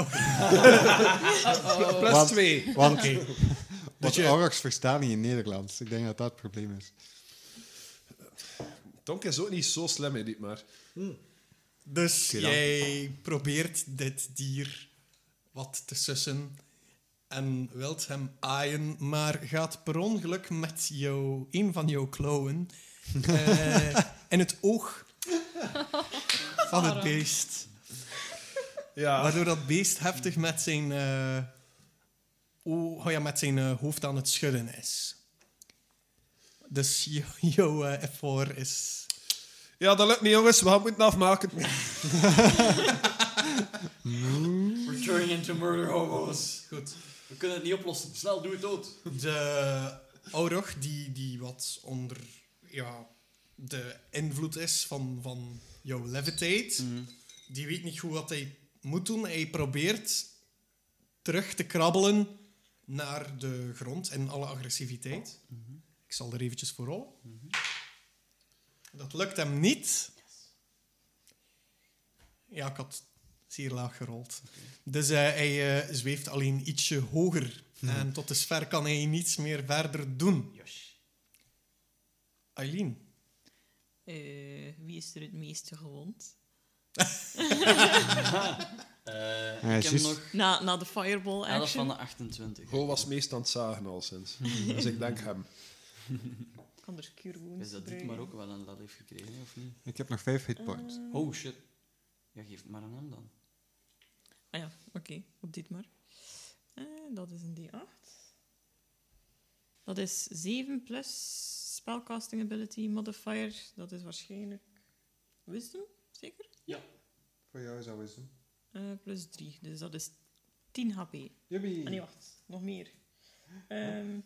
Speaker 7: Oh.
Speaker 1: Plus
Speaker 4: Want-
Speaker 1: twee.
Speaker 4: want
Speaker 2: Dat
Speaker 4: Want
Speaker 2: je-
Speaker 4: je... orks verstaan niet in Nederlands. Ik denk dat dat het probleem is.
Speaker 1: Tonk is ook niet zo slim, hè, dit maar.
Speaker 2: Dus
Speaker 4: Oké dan.
Speaker 2: jij probeert dit dier wat te sussen en wilt hem aaien, maar gaat per ongeluk met jou, een van jouw klauwen eh, in het oog van het beest.
Speaker 1: Ja.
Speaker 2: Waardoor dat beest heftig met zijn, eh, o- oh ja, met zijn eh, hoofd aan het schudden is. Dus jou- jouw eh, effort is...
Speaker 1: ja, dat lukt niet, jongens. We gaan moeten afmaken.
Speaker 6: We're turning into murder hobos.
Speaker 2: Goed.
Speaker 6: We kunnen het niet oplossen. Snel, doe het dood.
Speaker 2: De Aurog, die, die wat onder ja, de invloed is van, van jouw levitate, die weet niet goed wat hij moet doen. Hij probeert terug te krabbelen naar de grond in alle agressiviteit. Ik zal er eventjes voor rollen. Dat lukt hem niet. Ja, ik had zeer laag gerold. Dus eh, hij eh, zweeft alleen ietsje hoger. En tot dusver kan hij niets meer verder doen.
Speaker 6: Yes.
Speaker 2: Eileen.
Speaker 5: Eh, wie is er het meeste gewond?
Speaker 6: Eh,
Speaker 4: Ja,
Speaker 6: ik heb
Speaker 4: juist.
Speaker 6: nog
Speaker 5: Na, na de fireball action.
Speaker 6: elf van de 28.
Speaker 1: Go was meest aan het zagen al sinds. Dus ik denk hem.
Speaker 5: Ik kan dus cure wounds
Speaker 6: Is dat dit maar ook wel een lat heeft gekregen, of niet?
Speaker 4: Ik heb nog vijf hitpoints.
Speaker 6: Oh shit. Ja, geef het maar aan hem dan.
Speaker 5: Ah ja, oké. Op dit maar. Eh, dat is een D8. Dat is 7 plus spellcasting ability modifier. Dat is waarschijnlijk wisdom, zeker?
Speaker 4: Voor jou is dat wisdom.
Speaker 5: Eh, plus 3. Dus dat is 10 HP. Ah, nee, wacht. Nog meer. Ehm,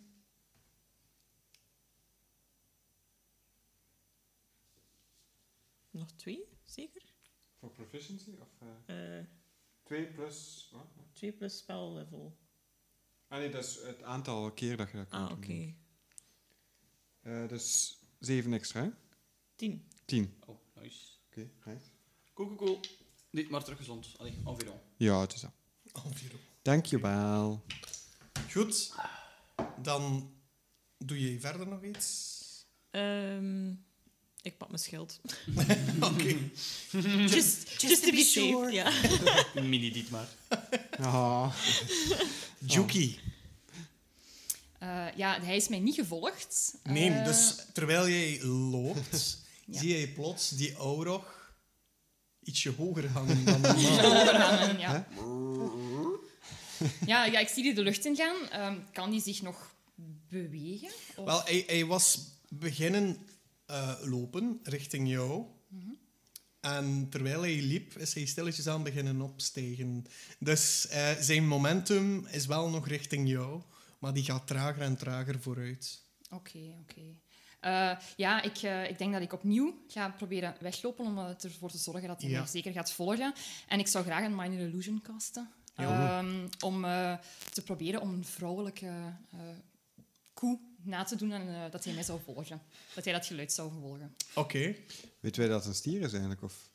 Speaker 5: nog 2, zeker?
Speaker 4: Voor proficiency? Of,
Speaker 5: Eh,
Speaker 4: twee plus... Wat?
Speaker 5: 2 plus spell level.
Speaker 4: Ah nee, dat is het aantal keer dat je dat kan
Speaker 5: Ah,
Speaker 4: doen.
Speaker 5: oké.
Speaker 4: Eh, dus zeven extra, hè?
Speaker 5: 10.
Speaker 4: Tien.
Speaker 6: Oh, nice.
Speaker 4: Oké,
Speaker 6: Cool, cool, cool. Dit maar teruggezond. Allee, environ.
Speaker 4: Ja, het is dat.
Speaker 2: Alviro.
Speaker 4: Dankjewel.
Speaker 2: Goed. Dan doe je verder nog iets.
Speaker 5: Ehm, ik pak mijn schild.
Speaker 2: Oké.
Speaker 5: Just, just, to be sure. Ja.
Speaker 6: Mini dit maar.
Speaker 4: Ah,
Speaker 2: Juki.
Speaker 7: Oh. Eh, ja, hij is mij niet gevolgd.
Speaker 2: Nee,
Speaker 7: Eh,
Speaker 2: dus terwijl jij loopt,
Speaker 7: Ja.
Speaker 2: zie jij plots die Aurog ietsje hoger hangen dan normaal.
Speaker 7: Ja, overhangen, ja. Ja, ja, ik zie die de lucht in gaan. Ehm, kan die zich nog bewegen? Of-
Speaker 2: Wel, hij, hij was beginnen eh, lopen richting jou. En terwijl hij liep, is hij stilletjes aan beginnen opstijgen. Dus eh, zijn momentum is wel nog richting jou, maar die gaat trager en trager vooruit.
Speaker 7: Oké, oké. Eh, ja, ik, eh, ik denk dat ik opnieuw ga proberen weglopen om eh, ervoor te zorgen dat hij
Speaker 2: Ja.
Speaker 7: mij zeker gaat volgen. En ik zou graag een minor illusion casten.
Speaker 2: Ja.
Speaker 7: Ehm, om eh, te proberen om een vrouwelijke eh, koe na te doen en eh, dat hij mij zou volgen. Dat hij dat geluid zou volgen.
Speaker 2: Oké.
Speaker 4: weten wij dat het een stier is eigenlijk? Of?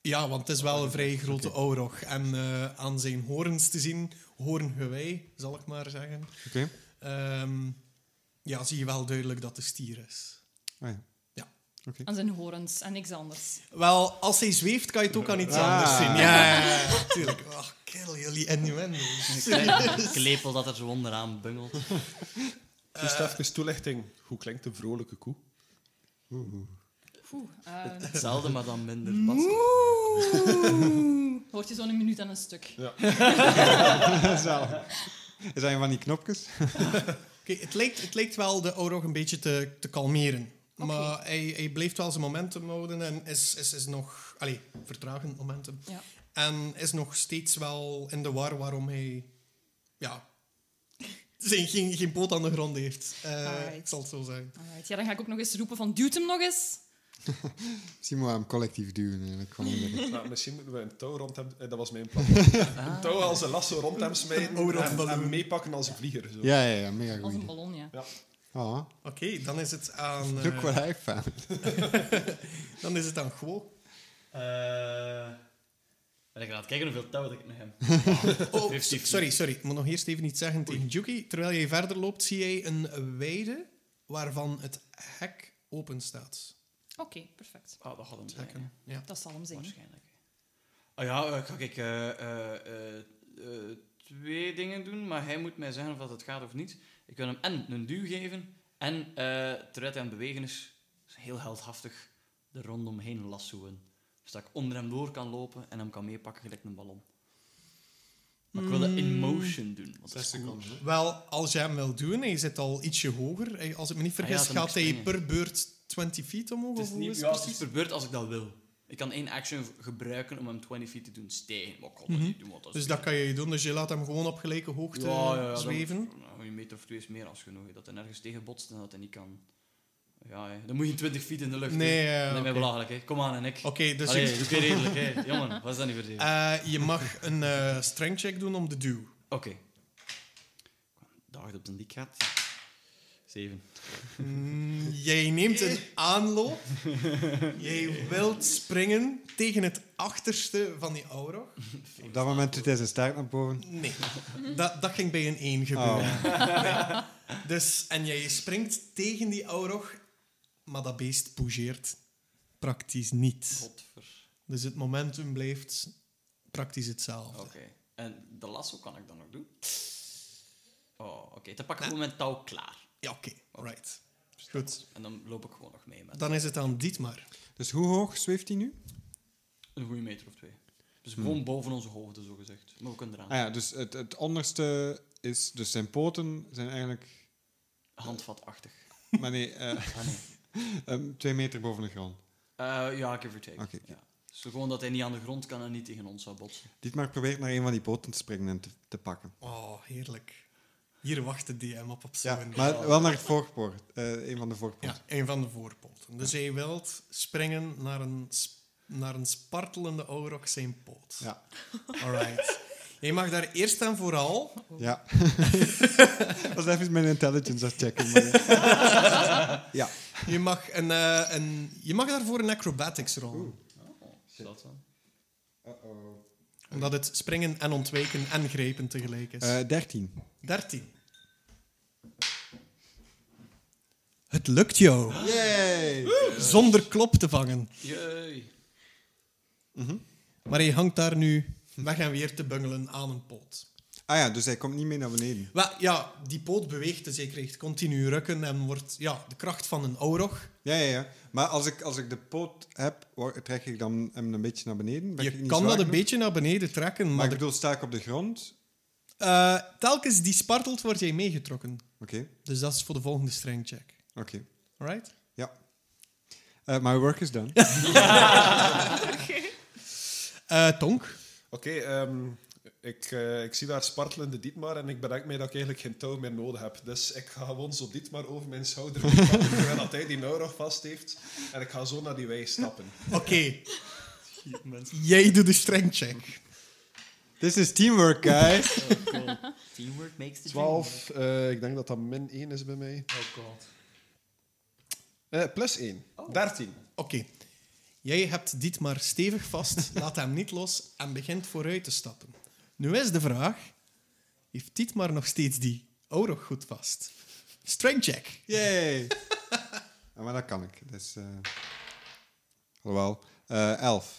Speaker 2: Ja, want het is wel een vrij grote aurog. En eh, aan zijn horens te zien, hoorngewei, zal ik maar zeggen,
Speaker 4: Oké.
Speaker 2: ehm, ja, zie je wel duidelijk dat het stier is.
Speaker 4: Ah, ja.
Speaker 7: Aan zijn horens en niks anders.
Speaker 2: Wel, als hij zweeft, kan je het ook aan iets
Speaker 4: Ah.
Speaker 2: anders zien. Ja, ja, ja, natuurlijk. Ach, kill jullie innuendo's.
Speaker 6: Klepel dat er zo onderaan bungelt.
Speaker 1: Dus even toelichting. Hoe klinkt een vrolijke koe?
Speaker 7: Oeh, eh,
Speaker 6: Hetzelfde, maar dan minder pas.
Speaker 7: hoort je zo'n minuut aan een stuk.
Speaker 4: Zalig. Is dat een van die knopjes?
Speaker 2: Oké, het, lijkt, het lijkt wel de oorlog een beetje te, te kalmeren.
Speaker 7: Oké.
Speaker 2: Maar hij, hij blijft wel zijn momentum houden en is, is, is nog... Allee, vertragend momentum.
Speaker 7: Ja.
Speaker 2: En is nog steeds wel in de war waarom hij... Ja... Zijn, geen, geen poot aan de grond heeft. Eh,
Speaker 7: Alright.
Speaker 2: Ik zal het zo zeggen.
Speaker 7: Alright, ja, dan ga ik ook nog eens roepen van duwt hem nog eens.
Speaker 4: Simon hem collectief duwen eigenlijk. Van hem.
Speaker 1: Nou, misschien moeten we een touw rond hem... eh, Dat was mijn plan. Een touw als een lasso rond hem smijten
Speaker 2: Een
Speaker 1: en,
Speaker 2: oorlogballon.
Speaker 1: en meepakken als een vlieger. Zo.
Speaker 4: ja, ja, ja, mega
Speaker 7: Als een
Speaker 4: goed.
Speaker 7: ballon, ja.
Speaker 4: Oh,
Speaker 2: Oké, dan is het aan... eh,
Speaker 4: look what I found.
Speaker 2: dan is het aan Gwo.
Speaker 6: Eh, ben ik aan het kijken hoeveel touw dat ik nog heb.
Speaker 2: Oh,
Speaker 6: Heeft
Speaker 2: so-
Speaker 6: hij-
Speaker 2: sorry, sorry. Ik moet nog eerst even iets zeggen tegen Juki. Terwijl jij verder loopt, zie jij een weide waarvan het hek open staat.
Speaker 7: Oké, perfect.
Speaker 6: Ah, dat had hem zijn,
Speaker 2: Trekken. Ja.
Speaker 7: Dat zal hem
Speaker 6: hè.
Speaker 7: zijn.
Speaker 6: waarschijnlijk. Ah ja, eh, ga ik eh, eh, eh, eh, twee dingen doen, maar hij moet mij zeggen of dat het gaat of niet. Ik kan hem en een duw geven, en eh, terwijl hij aan het bewegen is, is heel heldhaftig er rondomheen lassoen. Zodat ik onder hem door kan lopen en hem kan meepakken gelijk een ballon. Maar ik wil dat in
Speaker 2: Mm.
Speaker 6: motion doen. Want dat
Speaker 4: Zes
Speaker 6: is cool.
Speaker 4: seconden. hè.
Speaker 2: Wel, als jij hem wil doen, en je zit al ietsje hoger. eh, Als ik me niet
Speaker 6: Ah ja,
Speaker 2: vergis,
Speaker 6: dan moet
Speaker 2: gaat
Speaker 6: ik
Speaker 2: hij
Speaker 6: springen.
Speaker 2: per beurt 20 feet omhoog.
Speaker 6: Het
Speaker 2: of
Speaker 6: is
Speaker 2: hoe
Speaker 6: niet
Speaker 2: het
Speaker 6: ja, het
Speaker 2: precies?
Speaker 6: is per beurt als ik dat wil. Ik kan één action v- gebruiken om hem 20 feet te doen stijgen. Maar ik kan dat
Speaker 2: Mhm.
Speaker 6: niet doen, want dat is
Speaker 2: Dus dat kan je doen. Dus je laat hem gewoon op gelijke hoogte
Speaker 6: dan-
Speaker 2: eh, zweven.
Speaker 6: nou, een meter of twee is meer als genoeg. hè. Dat hij nergens tegen botst en dat hij niet kan. Ja, hè. dan moet je 20 feet in de lucht.
Speaker 2: Nee,
Speaker 6: hè.
Speaker 2: ja,
Speaker 6: dat is mij
Speaker 2: oké.
Speaker 6: belachelijk. Hè. Kom aan, en ik.
Speaker 2: Oké, dus
Speaker 6: Allee,
Speaker 2: je,
Speaker 6: doe weer redelijk. Hè. Jongen, wat is dat niet voor reden?
Speaker 2: eh, je mag een eh, strength check doen om de duw.
Speaker 6: Oké. Ik Dag dat op de dik gaat. Zeven.
Speaker 2: Mm, jij neemt een aanloop. jij wilt springen tegen het achterste van die aura.
Speaker 4: Op dat moment doet hij zijn staart naar boven.
Speaker 2: Nee, dat, dat ging bij een 1 gebeuren.
Speaker 4: Oh,
Speaker 2: Dus, en jij springt tegen die aurog, maar dat beest bougeert praktisch niet.
Speaker 6: Godver.
Speaker 2: Dus het momentum blijft praktisch hetzelfde.
Speaker 4: Oh.
Speaker 6: Oké. En de lasso kan ik dan nog doen? Oh, oké. Dan pak ik gewoon mijn touw klaar.
Speaker 2: Ja, oké, right. Goed.
Speaker 6: En dan loop ik gewoon nog mee met
Speaker 2: Dan is het aan Dietmar.
Speaker 4: dus hoe hoog zweeft hij nu?
Speaker 6: een goede meter of twee. Dus gewoon
Speaker 2: Hmm.
Speaker 6: boven onze hoofden, zo gezegd. Maar we kunnen eraan.
Speaker 4: Ah ja, dus het, het onderste is... Dus zijn poten zijn eigenlijk...
Speaker 6: Handvatachtig.
Speaker 4: Maar nee, eh,
Speaker 6: Ah, nee.
Speaker 4: ehm, twee meter boven de grond.
Speaker 6: Eh, ja, give or take.
Speaker 4: Oké.
Speaker 6: Ja. Dus gewoon dat hij niet aan de grond kan en niet tegen ons zou botsen.
Speaker 4: Dietmar probeert naar een van die poten te springen en te, te pakken.
Speaker 2: Oh, heerlijk. Hier wacht de DM op op zo'n
Speaker 4: Ja, maar wel naar het voorpoort. eh, een van de voorpoorten.
Speaker 2: Ja, een van de voorpoten. Dus jij wilt springen naar een, sp- naar een spartelende aurog zijn poot.
Speaker 4: Ja.
Speaker 2: Alright. Je mag daar eerst en vooral
Speaker 4: Ja. was even mijn intelligence aan het checken. maar ja. ja.
Speaker 2: Je mag, een, eh, een, je mag daarvoor een acrobatics rollen.
Speaker 6: Oh, Is dat dan?
Speaker 2: Omdat het springen en ontwijken en grijpen tegelijk is.
Speaker 4: Eh, 13.
Speaker 2: 13. Het lukt jou.
Speaker 4: Yay!
Speaker 2: Zonder klop te vangen.
Speaker 6: Jee.
Speaker 2: Maar je hangt daar nu weg en weer te bungelen aan een poot.
Speaker 4: Ah ja, dus hij komt niet mee naar beneden.
Speaker 2: Wel, ja, die poot beweegt dus je krijgt continu rukken en wordt ja, de kracht van een aurog.
Speaker 4: Ja, ja, ja. Maar als ik, als ik de poot heb, wa- trek ik dan hem een beetje naar beneden? Ben ik
Speaker 2: Je
Speaker 4: niet
Speaker 2: kan
Speaker 4: zwaar
Speaker 2: dat een
Speaker 4: genoeg?
Speaker 2: beetje naar beneden trekken,
Speaker 4: Maar
Speaker 2: maar
Speaker 4: ik bedoel, sta ik op de grond?
Speaker 2: de- eh, telkens die spartelt wordt jij meegetrokken.
Speaker 4: Oké,
Speaker 2: Dus dat is voor de volgende strengcheck.
Speaker 4: oké.
Speaker 2: Alright?
Speaker 4: Ja. Eh, my work is done.
Speaker 2: Eh, Tonk?
Speaker 1: Oké, ehm, ik, eh, ik zie daar spartelende Dietmar en ik bedenk mij dat ik eigenlijk geen touw meer nodig heb. Dus ik ga gewoon zo Dietmar over mijn schouder pakken, terwijl dat hij die nou nog vast heeft. En ik ga zo naar die wei stappen.
Speaker 2: Oké. Jij doet de strength check.
Speaker 4: This is teamwork, guys.
Speaker 6: Teamwork makes the
Speaker 1: 12, eh, ik denk dat dat min 1 is bij mij.
Speaker 6: dream. Oh god.
Speaker 1: Eh, plus 1, 13.
Speaker 2: Oké. Jij hebt dit maar stevig vast, laat hem niet los en begint vooruit te stappen. Nu is de vraag, heeft dit maar nog steeds die oorlog goed vast? Strength check.
Speaker 4: Yay! Ah, maar dat kan ik. Dus, eh Alhoewel. Eh, elf.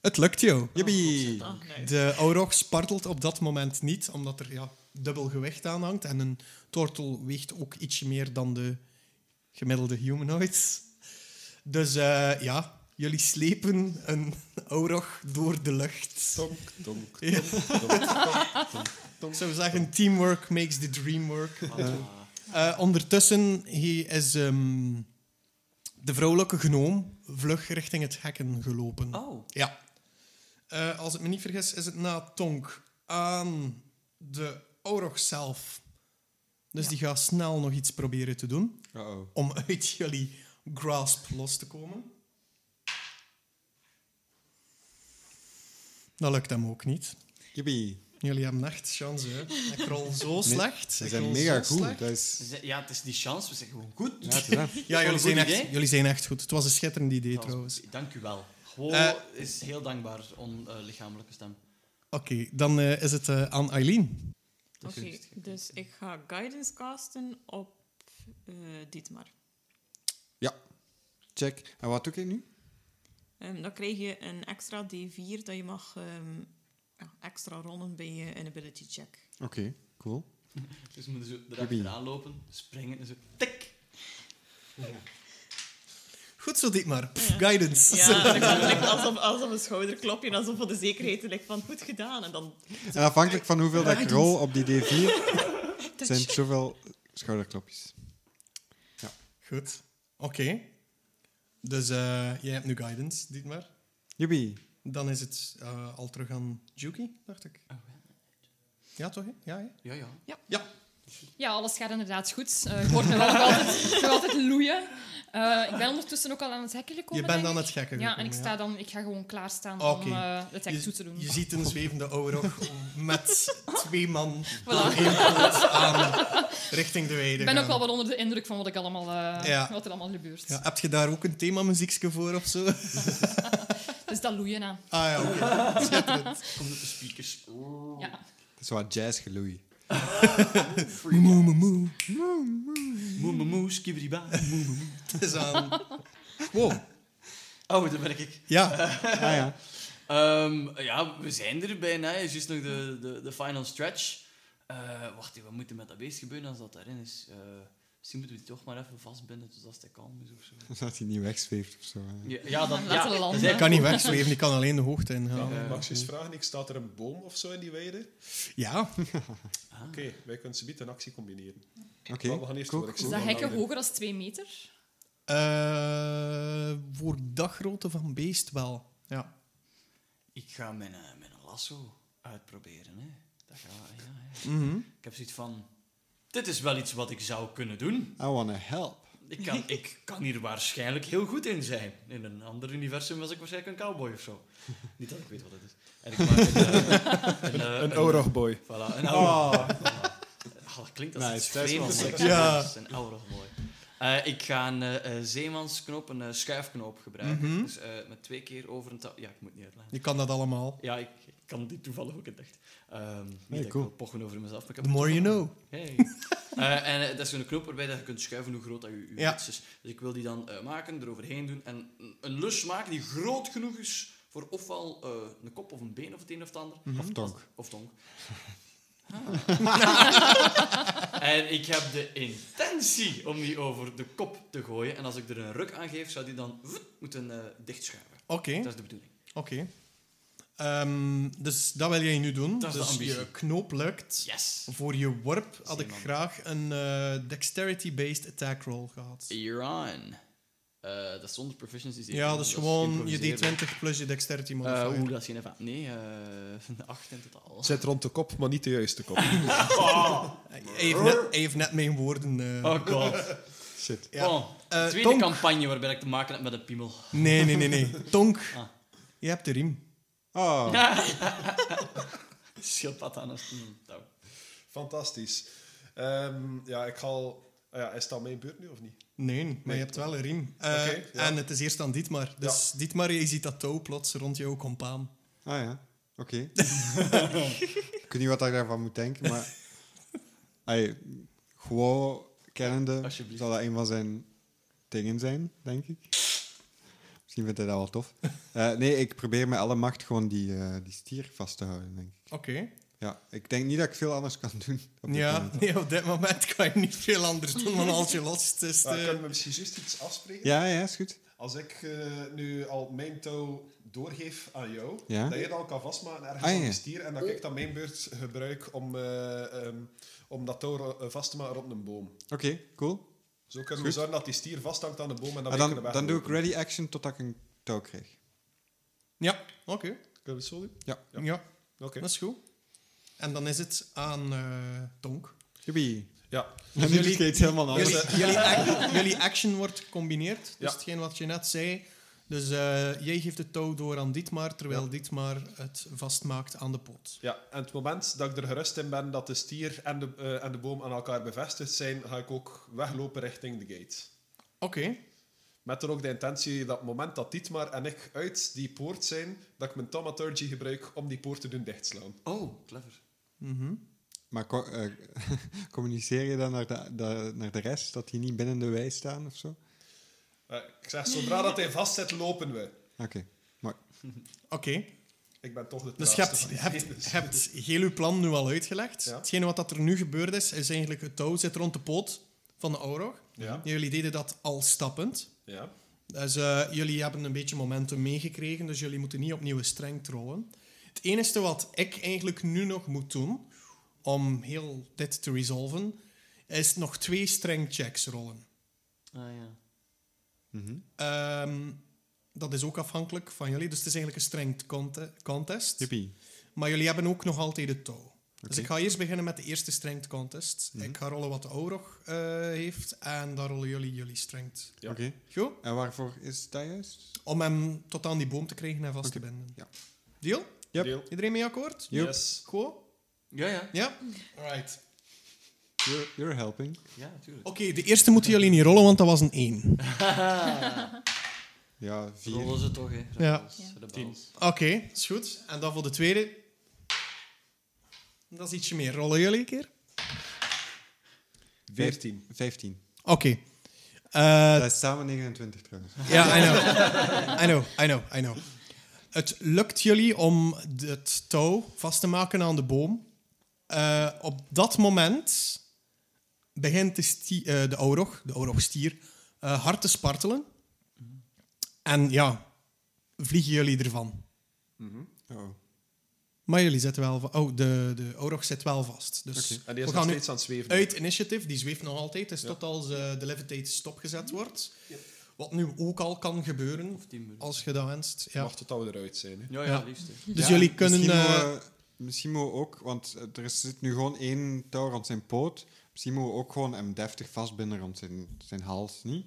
Speaker 2: Het lukt jou.
Speaker 4: Yippie!
Speaker 5: Ah, nee.
Speaker 2: De oorlog spartelt op dat moment niet, omdat er ja, dubbel gewicht aan hangt. En een tortel weegt ook ietsje meer dan de gemiddelde humanoids. Dus eh, ja, jullie slepen een oorlog door de lucht.
Speaker 1: Tonk, tonk,
Speaker 2: Ja.
Speaker 1: tonk, tonk, tonk, tonk, tonk.
Speaker 2: Ik zou zeggen, teamwork makes the dream work. Eh, ondertussen he is ehm, de vrouwelijke gnoom vlug richting het hekken gelopen.
Speaker 6: Oh.
Speaker 2: Ja. Eh, als ik me niet vergis, is het na Tonk aan de Aurog zelf. Dus die gaat snel nog iets proberen te doen
Speaker 4: Uh-oh.
Speaker 2: om uit jullie grasp los te komen. Dat lukt hem ook niet.
Speaker 4: Yippie.
Speaker 2: Jullie hebben echt chance, hè. Ik rol zo slecht.
Speaker 4: Ze
Speaker 2: ik
Speaker 4: zijn
Speaker 2: rol
Speaker 4: mega
Speaker 2: zo
Speaker 4: goed.
Speaker 2: slecht.
Speaker 4: Dat is...
Speaker 6: Ja, het is die chance. We zijn gewoon goed.
Speaker 4: Ja, het is waar.
Speaker 2: Ja, jullie
Speaker 6: Goed
Speaker 2: zijn,
Speaker 6: idee.
Speaker 2: echt, jullie zijn echt goed. Het was een schitterend idee,
Speaker 6: Dat was-
Speaker 2: trouwens.
Speaker 6: Dank u wel. Gewoon
Speaker 2: Eh.
Speaker 6: is heel dankbaar om eh, lichamelijke stem.
Speaker 2: Oké, dan eh, is het eh, aan Eileen.
Speaker 5: Oké, dus ik ga guidance casten op eh Dietmar.
Speaker 4: Check. En wat doe ik nu?
Speaker 5: Ehm, dan krijg je een extra D4 dat je mag ehm, ja, extra rollen bij je inability check.
Speaker 4: Oké, cool.
Speaker 6: Dus we moeten zo
Speaker 4: Juppie.
Speaker 6: erachteraan lopen, springen en zo... Tik!
Speaker 2: Goed zo, dit maar. Pff,
Speaker 5: Ja.
Speaker 2: Guidance.
Speaker 5: Ja, dat klinkt alsof, alsof een schouderklopje, en alsof voor de zekerheid lijkt van goed gedaan. En dan
Speaker 4: En afhankelijk van hoeveel dat ik rol op die D4, zijn het
Speaker 5: touch.
Speaker 4: zoveel schouderklopjes.
Speaker 2: Goed. Oké. Dus eh, jij hebt nu guidance, dit maar.
Speaker 4: Juppie.
Speaker 2: Dan is het eh, al terug aan Juki, dacht ik.
Speaker 6: Oh,
Speaker 2: Ja, toch? hè? Ja, hè?
Speaker 6: Ja, ja.
Speaker 7: Ja, alles gaat inderdaad goed. Eh, ik word nog altijd, nog altijd loeien. Eh, ik ben ondertussen ook al aan het hekken gekomen.
Speaker 2: Je bent
Speaker 7: denk
Speaker 2: aan
Speaker 7: ik.
Speaker 2: het gekken
Speaker 7: Ja, en
Speaker 2: gekomen,
Speaker 7: ik, sta dan, ik ga gewoon klaarstaan
Speaker 2: Oké.
Speaker 7: om eh het hek
Speaker 2: Je-
Speaker 7: toe te doen.
Speaker 2: Je ziet een zwevende oorlog met twee man
Speaker 7: Voilà.
Speaker 2: één poot aan richting de weide
Speaker 7: Ik ben ook
Speaker 2: gaan.
Speaker 7: wel wat onder de indruk van wat, ik allemaal, eh,
Speaker 2: Ja.
Speaker 7: wat er allemaal gebeurt.
Speaker 2: Ja, heb je daar ook een themamuziekje voor of zo? Ah
Speaker 7: Dus dat loeien aan.
Speaker 2: ja, oké. Schitterend.
Speaker 6: Komt op de speakers. Oh.
Speaker 7: Ja.
Speaker 4: Het is wat jazzgeloei.
Speaker 2: Moe, moe, moe.
Speaker 6: Moe, moe, moe, skibberibba, moe, moe, moe.
Speaker 2: Het is aan... Wow.
Speaker 6: Oh, daar ben ik.
Speaker 2: Ja.
Speaker 4: Ah ja.
Speaker 6: Ehm, ja, we zijn er bijna. Het is juist nog de, de, de final stretch. Eh, wacht even, wat moet er met dat beest gebeuren als dat daarin is? Eh, misschien moeten we die toch maar even vastbinden totdat hij kalm is of zo.
Speaker 4: Dat hij niet wegzweeft of zo. hè.
Speaker 6: Ja, ja, dat, ja,
Speaker 7: Laten we
Speaker 6: dat
Speaker 7: landen.
Speaker 6: is eigenlijk-
Speaker 2: kan niet wegzweven, die kan alleen de hoogte ingaan.
Speaker 6: Ja.
Speaker 1: Max is vragen, ik staat er een boom of zo in die weide? Oké,
Speaker 2: Ja.
Speaker 1: wij kunnen ze een actie combineren.
Speaker 4: Oké.
Speaker 1: Maar we gaan eerst
Speaker 4: cool,
Speaker 1: door, ik
Speaker 7: Dus
Speaker 1: zie
Speaker 4: cool.
Speaker 7: dat
Speaker 1: wel houden.
Speaker 7: hekken hoger dan twee
Speaker 2: Ah
Speaker 7: meter.
Speaker 2: Eh, voor daggrootte van beest wel. Ja.
Speaker 6: Ik ga mijn, eh, mijn lasso uitproberen. Hè. Dat ga, ja, ja.
Speaker 2: Mhm.
Speaker 6: Ik heb zoiets van... Dit is wel iets wat ik zou kunnen doen.
Speaker 4: I wanna help.
Speaker 6: Ik kan, ik kan hier waarschijnlijk heel goed in zijn. In een ander universum was ik waarschijnlijk een cowboy of zo. Niet dat ik weet wat het is. En ik maak een, eh, een, eh,
Speaker 1: Een oorlogboy.
Speaker 6: Voilà,
Speaker 2: Ah.
Speaker 6: een oude. Oh, dat klinkt als
Speaker 4: Nice,
Speaker 6: iets
Speaker 4: dat is wel
Speaker 6: vreemds.
Speaker 4: sexy.
Speaker 2: Ja.
Speaker 6: Dat is Een oude mooi. Eh, ik ga een eh, eh, zeemansknop, een eh, schuifknoop gebruiken.
Speaker 2: Mhm.
Speaker 6: Dus eh, met twee keer over een touw. Ja, ik moet niet uitleggen.
Speaker 2: Je kan dat allemaal.
Speaker 6: Ja, ik, ik kan dit toevallig ook in dacht. Ehm niet
Speaker 4: Hey,
Speaker 6: dat ik
Speaker 4: cool.
Speaker 6: wil pochen over mezelf, maar ik heb
Speaker 2: The more you know.
Speaker 6: Hey. Eh, en eh, dat is zo'n knoop waarbij dat je kunt schuiven hoe groot dat je, je
Speaker 2: Ja.
Speaker 6: iets is. Dus ik wil die dan eh, maken, eroverheen doen en een- een lus maken die groot genoeg is voor ofwel eh, een kop of een been of het een of het ander.
Speaker 2: Hm.
Speaker 4: Of tonk.
Speaker 6: Of tong. Ah. en ik heb de intentie om die over de kop te gooien. En als ik er een ruk aan geef, zou die dan voet moeten eh, dichtschuiven.
Speaker 2: Oké,
Speaker 6: Dat is de bedoeling.
Speaker 2: oké. Ehm, dus dat wil jij nu doen.
Speaker 6: Dat is de
Speaker 2: dus
Speaker 6: ambitie.
Speaker 2: je knoop lukt.
Speaker 6: Yes.
Speaker 2: Voor je worp had ik
Speaker 6: Zeeman.
Speaker 2: graag een eh, dexterity-based attack roll gehad.
Speaker 6: You're on. Eh, dat is zonder proficiency. zeker.
Speaker 2: Ja, dus gewoon je
Speaker 6: improviseren.
Speaker 2: D20 plus je dexterity
Speaker 6: Eh,
Speaker 2: modifier.
Speaker 6: Oeh, dat is geen ervaring. Nee, eh acht in totaal.
Speaker 1: Zit rond de kop, maar niet de juiste kop.
Speaker 2: hij, heeft net, hij heeft net mijn woorden... eh,
Speaker 6: Oh god.
Speaker 4: Shit.
Speaker 2: Ja.
Speaker 6: Oh,
Speaker 2: Eh,
Speaker 6: tweede
Speaker 2: Tonk.
Speaker 6: campagne waarbij ik te maken heb met een piemel.
Speaker 2: Nee, nee, nee, nee. Tonk,
Speaker 6: Ah.
Speaker 2: je hebt de riem.
Speaker 4: Oh.
Speaker 6: Schildpad aan een touw.
Speaker 1: Fantastisch. Ehm, ja, ik ga al... ah ja, is het al mijn beurt nu of niet?
Speaker 2: Nee, maar je hebt wel een riem. Eh,
Speaker 1: Oké, ja.
Speaker 2: En het is eerst aan Dietmar. Dus Dietmar, je ziet dat touw plots rond jouw compaan.
Speaker 4: Ah ja, oké. ik weet niet wat ik daarvan moet denken, maar... Ai, gewoon kennende
Speaker 6: Alsjeblieft.
Speaker 4: zal dat een van zijn dingen zijn, denk ik. Misschien vindt hij dat wel tof. Eh, nee, ik probeer met alle macht gewoon die, eh, die stier vast te houden, denk ik.
Speaker 2: Oké.
Speaker 4: Ja, ik denk niet dat ik veel anders kan doen. op dit
Speaker 2: Ja,
Speaker 4: moment.
Speaker 2: nee, op dit moment kan je niet veel anders doen dan als je lost is.
Speaker 1: Maar
Speaker 2: eh,
Speaker 1: kunnen we misschien juist iets afspreken?
Speaker 4: Ja, ja, is goed.
Speaker 1: Als ik eh, nu al mijn touw doorgeef aan jou,
Speaker 4: Ja.
Speaker 1: dat je dat al kan vastmaken ergens
Speaker 4: Ah,
Speaker 1: aan
Speaker 4: ja.
Speaker 1: de stier, en dat ik dan mijn beurt gebruik om, eh, ehm, om dat touw ro- eh, vast te maken rond een boom.
Speaker 4: Oké, cool.
Speaker 1: Zo kunnen we
Speaker 4: Goed.
Speaker 1: zorgen dat die stier vasthangt aan de boom en dat
Speaker 4: Ah,
Speaker 1: we
Speaker 4: dan,
Speaker 1: kunnen
Speaker 4: dan doe ik
Speaker 1: weglopen.
Speaker 4: ready action totdat ik een touw krijg.
Speaker 2: Ja, oké.
Speaker 1: Kunnen we het zo doen?
Speaker 2: Ja.
Speaker 1: Ja. Oké.
Speaker 2: dat is goed. En dan is het aan eh, Tonk. Dus
Speaker 4: Juppie.
Speaker 1: Ja.
Speaker 4: En nu
Speaker 2: jullie-
Speaker 4: gaat het helemaal anders.
Speaker 2: Jullie, jullie, ac- jullie action wordt gecombineerd. Dus
Speaker 1: Ja.
Speaker 2: hetgeen wat je net zei. Dus eh, jij geeft het touw door aan Dietmar, terwijl Dietmar het vastmaakt aan de poot.
Speaker 1: ja. En het moment dat ik er gerust in ben dat de stier en de, eh, en de boom aan elkaar bevestigd zijn, ga ik ook weglopen richting de gate.
Speaker 2: Oké.
Speaker 1: Met dan ook de intentie dat het moment dat Dietmar en ik uit die poort zijn, dat ik mijn Thaumaturgy gebruik om die poort te doen dichtslaan.
Speaker 6: Oh, clever.
Speaker 2: Mhm.
Speaker 4: Maar co- eh, communiceer je dan naar de, de- naar de rest dat die niet binnen de wij staan of zo?
Speaker 8: Eh, ik zeg, zodra dat hij vastzit, lopen we.
Speaker 4: Oké.
Speaker 2: Oké,
Speaker 8: Ik ben toch de
Speaker 2: dus je
Speaker 8: traagste
Speaker 2: hebt,
Speaker 8: van
Speaker 2: je
Speaker 8: die
Speaker 2: hebt,
Speaker 8: twee, dus-
Speaker 2: je hebt heel uw plan nu al uitgelegd.
Speaker 8: Ja.
Speaker 2: Hetgene wat dat er nu gebeurd is, is eigenlijk het touw zit rond de poot van de Aurog.
Speaker 8: Ja,
Speaker 2: Jullie deden dat al stappend.
Speaker 8: ja.
Speaker 2: Dus eh, jullie hebben een beetje momentum meegekregen, dus jullie moeten niet opnieuw een streng trouwen. Het enige wat ik eigenlijk nu nog moet doen, om heel dit te resolven, is nog twee streng checks rollen.
Speaker 6: Ah ja.
Speaker 4: Mhm.
Speaker 2: Ehm, dat is ook afhankelijk van jullie, dus het is eigenlijk een strength conte- contest.
Speaker 4: Jippie.
Speaker 2: Maar jullie hebben ook nog altijd het touw. Dus
Speaker 4: Oké.
Speaker 2: ik ga eerst beginnen met de eerste strength contest.
Speaker 4: Mhm.
Speaker 2: Ik ga rollen wat de Aurog eh, heeft en dan rollen jullie jullie strength.
Speaker 8: Ja.
Speaker 4: Oké.
Speaker 2: Goed?
Speaker 4: En waarvoor is dat juist?
Speaker 2: Om hem tot aan die boom te krijgen en vast
Speaker 4: Oké.
Speaker 2: te binden.
Speaker 4: Ja.
Speaker 2: Deal?
Speaker 4: Yep.
Speaker 8: Deel.
Speaker 2: Iedereen mee akkoord?
Speaker 4: Yep.
Speaker 8: Yes.
Speaker 2: Go?
Speaker 6: Ja, ja.
Speaker 2: Ja?
Speaker 8: Alright.
Speaker 4: You're, you're helping.
Speaker 6: Ja, natuurlijk.
Speaker 2: Oké, de eerste moeten jullie niet rollen, want dat was een 1.
Speaker 4: Ja, vier.
Speaker 6: Rollen ze toch, hè?
Speaker 2: Ja.
Speaker 6: Rebels,
Speaker 5: Ja.
Speaker 6: rebels.
Speaker 2: Oké, is goed. En dan voor de tweede. Dat is ietsje meer. Rollen jullie een keer?
Speaker 8: Veertien.
Speaker 4: Vijftien.
Speaker 2: Oké. Eh,
Speaker 4: Dat is samen 29 trouwens.
Speaker 2: Ja, I know. I know, I know, I know. Het lukt jullie om d- het touw vast te maken aan de boom. Eh, op dat moment begint de, sti- eh, de aurog, de aurogstier, eh, hard te spartelen. En ja, vliegen jullie ervan.
Speaker 4: Oh.
Speaker 2: Maar jullie zitten wel... va- Oh, de, de aurog zit wel vast. Dus
Speaker 4: Oké.
Speaker 8: En Ah, die
Speaker 2: we
Speaker 8: is nog
Speaker 2: gaan nu
Speaker 8: steeds aan het zweven.
Speaker 2: uit initiative, die zweeft nog altijd. Dus
Speaker 8: Ja.
Speaker 2: tot als eh, de levitate stopgezet wordt. Wat nu ook al kan gebeuren,
Speaker 6: Of tien minuten.
Speaker 2: als je dat wenst. Ja.
Speaker 8: Wacht tot we eruit zijn. Hè.
Speaker 6: Ja, ja,
Speaker 2: Ja.
Speaker 6: liefst. hè.
Speaker 2: Dus
Speaker 4: Ja,
Speaker 2: jullie kunnen...
Speaker 4: Misschien,
Speaker 2: eh,
Speaker 4: moeten we- misschien moeten we ook, want eh, er is- zit nu gewoon één touw rond zijn poot. Misschien moeten we ook gewoon hem deftig vastbinden rond zijn, zijn hals, niet?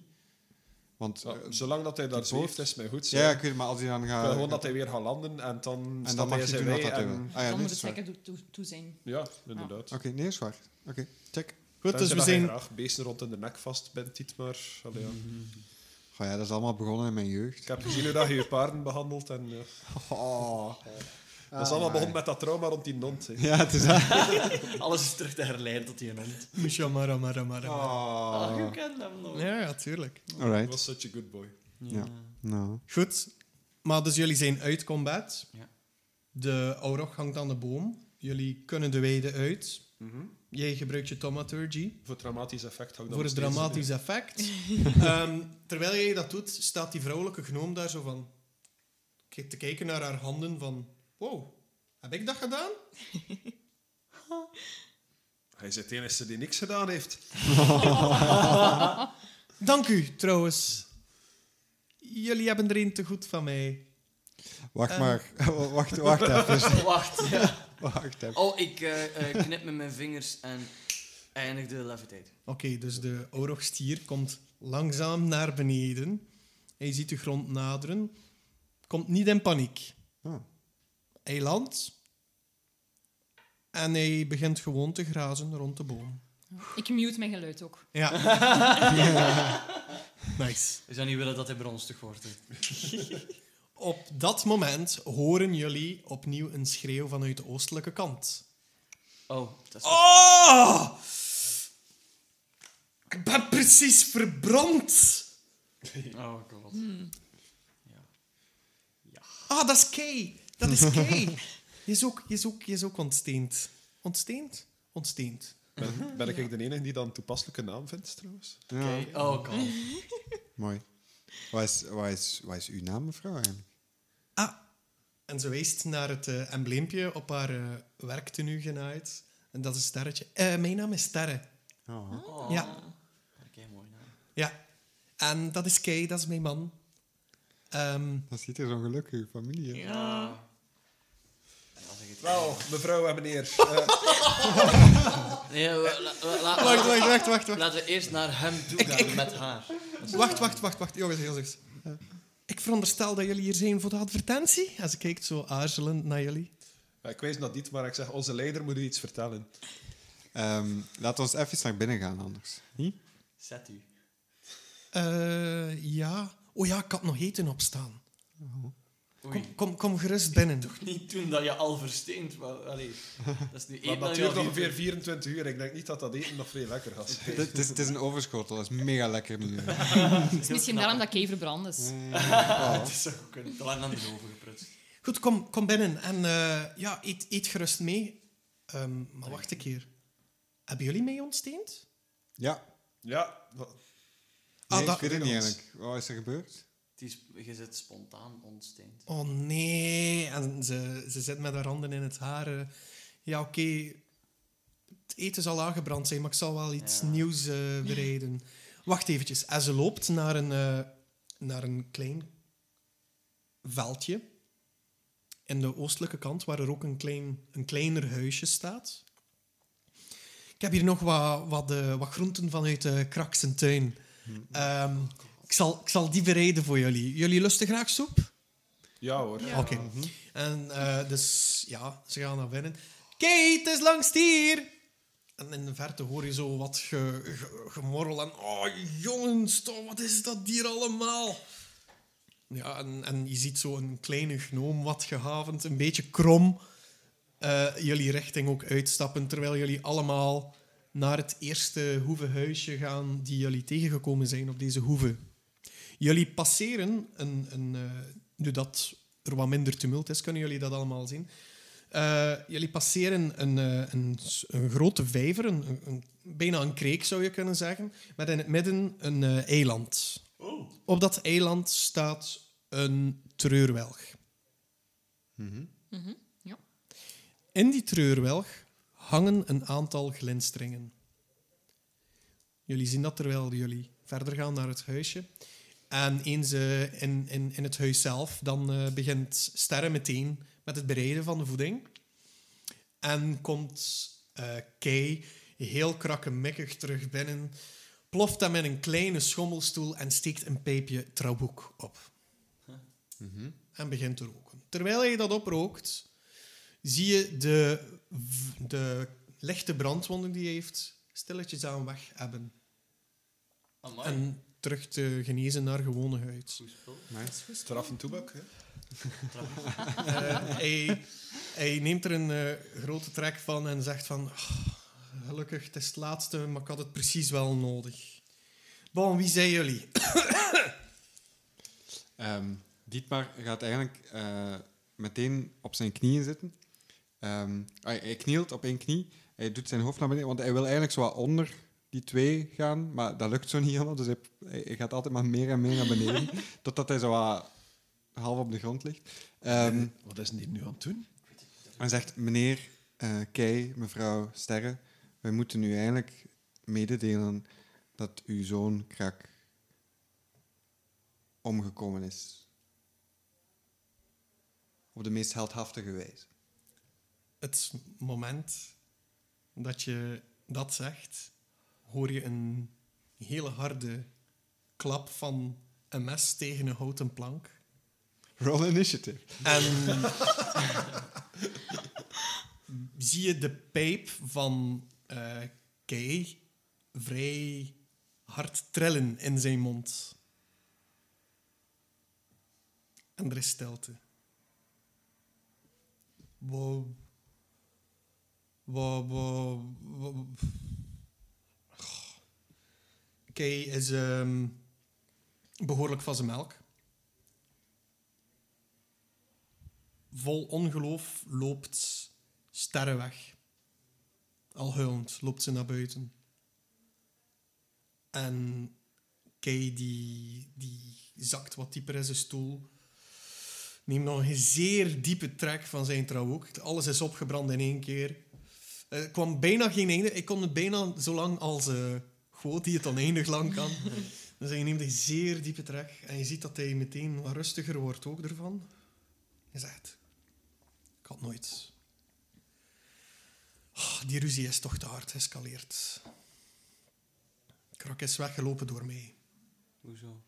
Speaker 4: Want. eh,
Speaker 8: Zo- Zolang dat hij daar
Speaker 4: die boot.
Speaker 8: zweeft, is mij goed. zo.
Speaker 4: ja, ik weet het, maar als hij dan
Speaker 8: Ik
Speaker 4: gaat.
Speaker 8: wil gewoon dat hij weer gaat landen en dan
Speaker 4: en
Speaker 8: staat
Speaker 4: dan mag
Speaker 8: hij
Speaker 4: je doen
Speaker 8: zijn
Speaker 4: wat
Speaker 8: wij
Speaker 4: dat hij wil.
Speaker 8: en...
Speaker 4: Ah
Speaker 7: dan
Speaker 4: ja, nee,
Speaker 7: moet het
Speaker 4: is waar.
Speaker 7: zeker toe, toe, toezien.
Speaker 8: Ja, inderdaad.
Speaker 4: Oké, nee, is waar. Oké, check.
Speaker 2: Goed, dus
Speaker 8: Tenzij
Speaker 2: we
Speaker 8: dat je
Speaker 2: zijn...
Speaker 8: graag beesten rond in de nek vast bent, dit maar. Allee, ja.
Speaker 4: Goh, ja, dat is allemaal begonnen in mijn jeugd.
Speaker 8: Ik heb gezien hoe dat je je paarden behandelt. En, ja.
Speaker 4: Oh.
Speaker 8: dat is allemaal begonnen met dat trauma rond die nond. hè.
Speaker 4: Ja, het is dat.
Speaker 6: Alles is terug te herleiden tot die hond.
Speaker 2: Misha, mara, mara, mara.
Speaker 6: Ah,
Speaker 4: Oh.
Speaker 6: je kent hem nog.
Speaker 2: Ja, ja, tuurlijk.
Speaker 8: He
Speaker 4: Alright.
Speaker 8: was such a good boy.
Speaker 4: Ja. Nou.
Speaker 2: Goed. Maar dus jullie zijn uit combat.
Speaker 6: Ja.
Speaker 2: De Aurog hangt aan de boom. Jullie kunnen de weide uit. Jij gebruikt je thaumaturgy
Speaker 8: Voor het dramatisch effect hou ik dat
Speaker 2: voor het
Speaker 8: nog steeds
Speaker 2: dramatisch effect. Ehm, terwijl jij dat doet, staat die vrouwelijke gnoom daar zo van... k- Te kijken naar haar handen van... Wow, heb ik dat gedaan?
Speaker 8: in. Hij is het enige die niks gedaan heeft.
Speaker 2: Dank u, trouwens. Jullie hebben er een te goed van mij.
Speaker 4: Wacht
Speaker 2: Eh.
Speaker 4: maar. wacht, wacht even.
Speaker 6: Oh, Wacht. ja.
Speaker 4: Wacht even.
Speaker 6: Oh, ik eh, eh, knip met mijn vingers en eindig de levitate.
Speaker 2: Oké, dus de oorlogstier komt langzaam naar beneden. Hij ziet de grond naderen. Komt niet in paniek.
Speaker 8: Ah.
Speaker 4: Oh.
Speaker 2: Hij landt. En hij begint gewoon te grazen rond de boom.
Speaker 7: Ik mute mijn geluid ook.
Speaker 2: Ja. nice.
Speaker 6: Is dat niet willen dat hij bronstig wordt? hè?
Speaker 2: Op dat moment horen jullie opnieuw een schreeuw vanuit de oostelijke kant.
Speaker 6: Oh, dat is...
Speaker 2: Oh! Ik ben precies verbrand!
Speaker 6: Oh, god.
Speaker 2: Ah, dat is Kay. Dat is Kay. je, is ook, je, is ook, je is ook ontsteend. Ontsteend? Ontsteend.
Speaker 8: Ben, ben ik de enige die dan een toepasselijke naam vindt, trouwens?
Speaker 4: Ja.
Speaker 6: Oké. Oh, god.
Speaker 4: Mooi. Wat is, wat, is, wat is uw naam, mevrouw? eigenlijk?
Speaker 2: Ah. En ze wijst naar het eh, embleempje op haar eh, werktenu genaaid. En dat is een sterretje. Eh, mijn naam is Sterre.
Speaker 4: Oh.
Speaker 6: Oh.
Speaker 2: Ja.
Speaker 6: Oké, mooi naam.
Speaker 2: Ja. En dat is Kay, dat is mijn man. Ehm,
Speaker 4: Dat ziet er zo'n gelukkige familie uit.
Speaker 6: Ja. Ja, zeg het.
Speaker 8: Wel, mevrouw en meneer. eh,
Speaker 6: Nee, we- la- la- la-
Speaker 2: wacht, wacht, wacht, wacht, wacht.
Speaker 6: laten we eerst naar hem toe gaan met haar.
Speaker 2: Wacht, wacht, wacht, wacht. Jongens, jongens. Ik veronderstel dat jullie hier zijn voor de advertentie. En ze kijkt zo aarzelend naar jullie.
Speaker 8: ik wijs dat niet, maar ik zeg, onze leider moet u iets vertellen.
Speaker 4: Ehm, laat ons even naar binnen gaan anders. Hm?
Speaker 6: Zet u.
Speaker 2: Eh, ja. Oh ja, ik had nog eten opstaan.
Speaker 6: Oei.
Speaker 2: Kom, kom gerust binnen.
Speaker 6: Niet toen dat je al versteend was. Allee, dat is nu
Speaker 8: Maar
Speaker 6: één
Speaker 8: dat
Speaker 6: dat je
Speaker 8: duurt
Speaker 6: al
Speaker 8: ongeveer 24 uur. Ik denk niet dat dat eten nog vrij lekker gaat zijn.
Speaker 4: Het is, het is een overschotel, dat is mega lekker. nu.
Speaker 7: Het is misschien daarom dat Kay verbrand is.
Speaker 6: Het is ook kunnen. Te lang aan de oven geprutst.
Speaker 2: Goed, kom, kom binnen en eh, ja, eet, eet gerust mee. Ehm, maar wacht een keer. Hebben jullie mee ontsteend?
Speaker 4: Ja,
Speaker 8: Ja, wa-
Speaker 2: Ah,
Speaker 4: nee,
Speaker 2: dat-
Speaker 4: ik weet het niet eigenlijk. Wat is er gebeurd?
Speaker 6: Het is, je zit spontaan ontsteend.
Speaker 2: Oh nee. En ze, ze zit met haar handen in het haar. eh. ja, oké. Het eten zal aangebrand zijn, maar ik zal wel iets
Speaker 6: Ja.
Speaker 2: nieuws eh, bereiden. Wacht eventjes. En ze loopt naar een, eh, naar een klein veldje. In de oostelijke kant, waar er ook een, klein, een kleiner huisje staat. Ik heb hier nog wat, wat, eh, wat groenten vanuit de Kraksen tuin. Ehm, ik, zal, ik zal die bereiden voor jullie. Jullie lusten graag soep?
Speaker 8: ja hoor.
Speaker 2: Oké. Mhm. En eh, dus ja, ze gaan naar binnen. Kate het is langs hier! En in de verte hoor je zo wat ge, ge- gemorrel en... Oh, jongens, toch, wat is dat hier allemaal? Ja, en, en je ziet zo een kleine gnoom wat gehavend, een beetje krom, eh, jullie richting ook uitstappen, terwijl jullie allemaal naar het eerste hoevehuisje gaan die jullie tegengekomen zijn op deze hoeve. Jullie passeren een... een eh, nu dat er wat minder tumult is, kunnen jullie dat allemaal zien. Eh, jullie passeren een, eh, een, s- een grote vijver, een, een- een- bijna een kreek zou je kunnen zeggen, met in het midden een eh, eiland. Op dat eiland staat een treurwelg.
Speaker 7: ja.
Speaker 2: In die treurwelg hangen een aantal glinsteringen. Jullie zien dat terwijl jullie verder gaan naar het huisje. En eens eh, in, in, in het huis zelf, dan eh, begint Sterre meteen met het bereiden van de voeding. En komt eh Kei heel krakkemikkig terug binnen, ploft hem in een kleine schommelstoel en steekt een pijpje traboek op.
Speaker 4: Mhm.
Speaker 2: En begint te roken. Terwijl hij dat oprookt, zie je de, v- de lichte brandwonden die hij heeft stilletjes aan weg hebben.
Speaker 6: Amai,
Speaker 2: En terug te genezen naar gewone huid.
Speaker 6: goed spul.
Speaker 8: Straf en toebak. Hè?
Speaker 2: Eh, hij, hij neemt er een eh, grote trek van en zegt van... "Ah, gelukkig, het is het laatste, maar ik had het precies wel nodig. Bon, wie zijn jullie?
Speaker 4: Ehm, Dietmar gaat eigenlijk eh, meteen op zijn knieën zitten. Ehm, hij, hij knielt op één knie. Hij doet zijn hoofd naar beneden, want hij wil eigenlijk zo wat onder die twee gaan, maar dat lukt zo niet helemaal. Dus hij, hij- hij gaat altijd maar meer en meer naar beneden, totdat hij zo wat half op de grond ligt. Ehm,
Speaker 1: Wat is die nu aan het doen?
Speaker 4: en zegt, meneer eh Kei, mevrouw Sterre, wij moeten u eigenlijk mededelen dat uw zoon Krak omgekomen is. Op de meest heldhaftige wijze.
Speaker 2: Het moment dat je dat zegt, hoor je een hele harde klap van een mes tegen een houten plank.
Speaker 4: Roll initiative.
Speaker 2: En zie je de pijp van eh Kay vrij hard trillen in zijn mond. En er is stilte. Wow. Wow, wow, wow. Kay is ehm, behoorlijk van zijn melk. vol ongeloof loopt Sterre weg. Al huilend loopt ze naar buiten. En Kay die, die zakt wat dieper in zijn stoel. Neemt nog een zeer diepe trek van zijn trouwhoek. Alles is opgebrand in één keer. Eh, Er kwam bijna geen einde. Ik kon het bijna zo lang als eh Goot die het oneindig lang kan. Dus hij neemt een zeer diepe trek. En je ziet dat hij meteen wat rustiger wordt ook ervan. Je zegt, ik had nooit... Ah, die ruzie is toch te hard geëscaleerd. Krak is weggelopen door mij.
Speaker 6: Hoezo?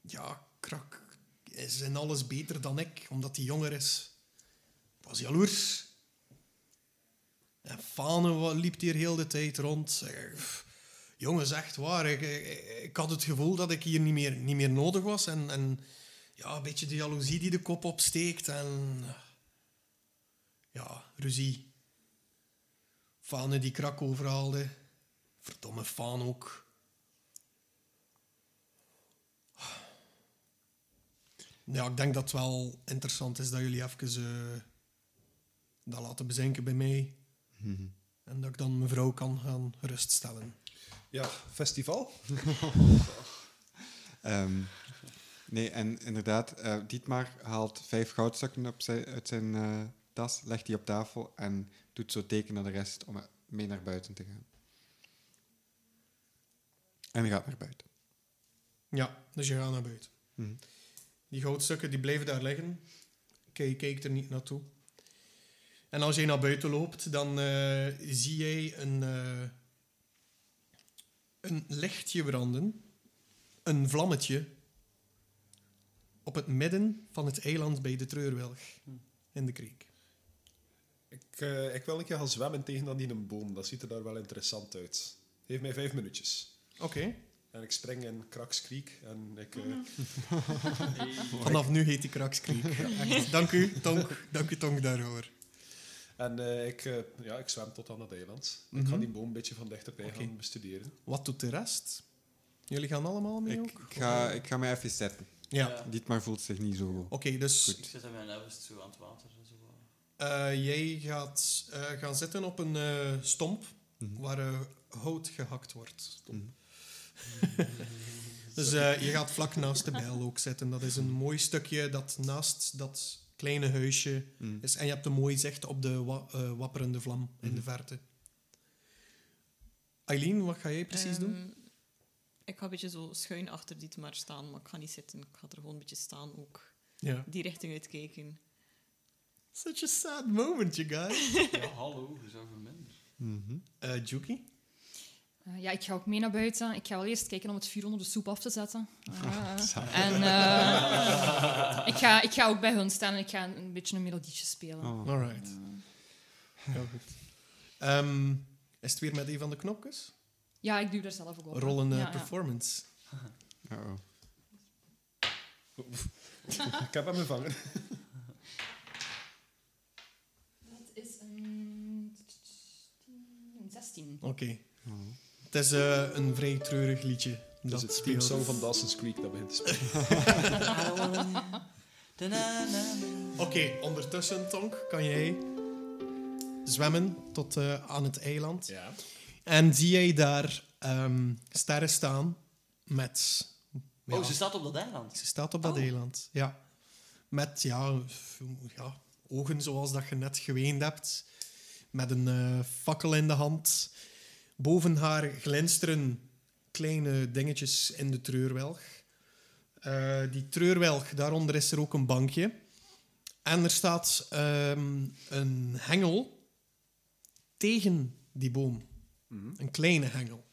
Speaker 2: Ja, Krak is in alles beter dan ik, omdat hij jonger is. Ik was jaloers. En Fane wa- liep hier heel de tijd rond. Eh, pff, Jongens, echt waar. Ik, ik, ik had het gevoel dat ik hier niet meer, niet meer nodig was. En, en ja, een beetje de jaloezie die de kop opsteekt en... Ja, ruzie. Fane die krak overhaalde. Verdomme Faan ook. Ja, ik denk dat het wel interessant is dat jullie even eh, dat laten bezinken bij mij. En dat ik dan mevrouw kan gaan geruststellen.
Speaker 1: Ja, festival.
Speaker 4: Ehm, nee, en inderdaad, eh, Dietmar haalt vijf goudstukken op zijn, uit zijn eh, tas, legt die op tafel en doet zo teken naar de rest om mee naar buiten te gaan. En gaat naar buiten.
Speaker 2: Ja, dus je gaat naar buiten.
Speaker 4: Mhm.
Speaker 2: Die goudstukken die blijven daar liggen. Kijk, kijk er niet naartoe. En als jij naar buiten loopt, dan eh, zie jij een, eh, een lichtje branden. Een vlammetje. Op het midden van het eiland bij de Treurwelg. In de kreek.
Speaker 1: Ik, eh, ik wil een keer gaan zwemmen tegen dan die een boom. Dat ziet er daar wel interessant uit. Geef mij vijf minuutjes.
Speaker 2: Oké.
Speaker 1: En ik spring in Krakskriek en ik... eh,
Speaker 2: Vanaf nu heet die Krakskriek. dank u, Tonk. Dank u, Tonk, daarvoor.
Speaker 1: en eh, ik, eh, ja, ik zwem tot aan het eiland. Ik
Speaker 2: Mhm.
Speaker 1: ga die boom een beetje van dichterbij
Speaker 2: Oké.
Speaker 1: gaan bestuderen.
Speaker 2: Wat doet de rest? Jullie gaan allemaal mee
Speaker 4: Ik,
Speaker 2: ook?
Speaker 4: ik, ga, ik ga mij even zetten.
Speaker 2: Ja.
Speaker 6: Ja.
Speaker 4: Dietmar voelt zich niet zo goed.
Speaker 2: Oké, dus
Speaker 6: Ik zit aan mijn helft zo aan het water. en Zo.
Speaker 2: eh, jij gaat eh, gaan zitten op een eh, stomp
Speaker 4: Mhm.
Speaker 2: waar eh, hout gehakt wordt.
Speaker 4: Mhm.
Speaker 2: Mhm. Dus eh, je gaat vlak naast de bijl ook zitten. Dat is een mooi stukje dat naast dat kleine huisje
Speaker 4: Mm.
Speaker 2: is. En je hebt een mooi zicht op de wa- eh, wapperende vlam in de verte. Eileen, wat ga jij precies doen?
Speaker 5: Ehm, Ik ga een beetje zo schuin achter dit maar staan, maar ik ga niet zitten. Ik ga er gewoon een beetje staan ook.
Speaker 2: Ja.
Speaker 5: Die richting uitkijken.
Speaker 2: Such a sad moment, you guys.
Speaker 6: Ja, hallo, je zou verminderen.
Speaker 4: Mhm.
Speaker 2: Eh Juki?
Speaker 7: Eh, ja, ik ga ook mee naar buiten. Ik ga wel eerst kijken om het vuur onder de soep af te zetten. Ah.
Speaker 4: Zalig.
Speaker 7: en eh, ik, ga, ik ga ook bij hun staan en ik ga een, een beetje een melodietje spelen.
Speaker 4: Oh.
Speaker 2: Alright. Heel goed. Ehm, is het weer met een van de knopjes?
Speaker 7: Ja, ik doe daar zelf ook op.
Speaker 2: Rollen eh,
Speaker 7: Ja, ja.
Speaker 2: performance.
Speaker 4: Uh-oh.
Speaker 1: ik heb hem gevangen.
Speaker 7: Dat is een... een 16.
Speaker 2: Oké. Het is eh, een vrij treurig liedje.
Speaker 1: Dat is
Speaker 2: dat
Speaker 1: Dus het
Speaker 2: speelt.
Speaker 1: teamsong van Dawson's Creek dat begint te spelen.
Speaker 2: Oké, ondertussen, Tonk, kan jij zwemmen tot eh, aan het eiland.
Speaker 1: Ja.
Speaker 2: En zie jij daar ehm, sterren staan met...
Speaker 6: Oh,
Speaker 2: ja,
Speaker 6: ze staat op dat eiland.
Speaker 2: ze staat op dat
Speaker 6: Oh.
Speaker 2: eiland. Ja. Met ja, f- ja, ogen zoals dat je net geweend hebt. Met een eh, fakkel in de hand. Boven haar glinsteren kleine dingetjes in de treurwelg. Eh, die treurwelg, daaronder is er ook een bankje. En er staat ehm, een hengel tegen die boom. Een kleine hengel.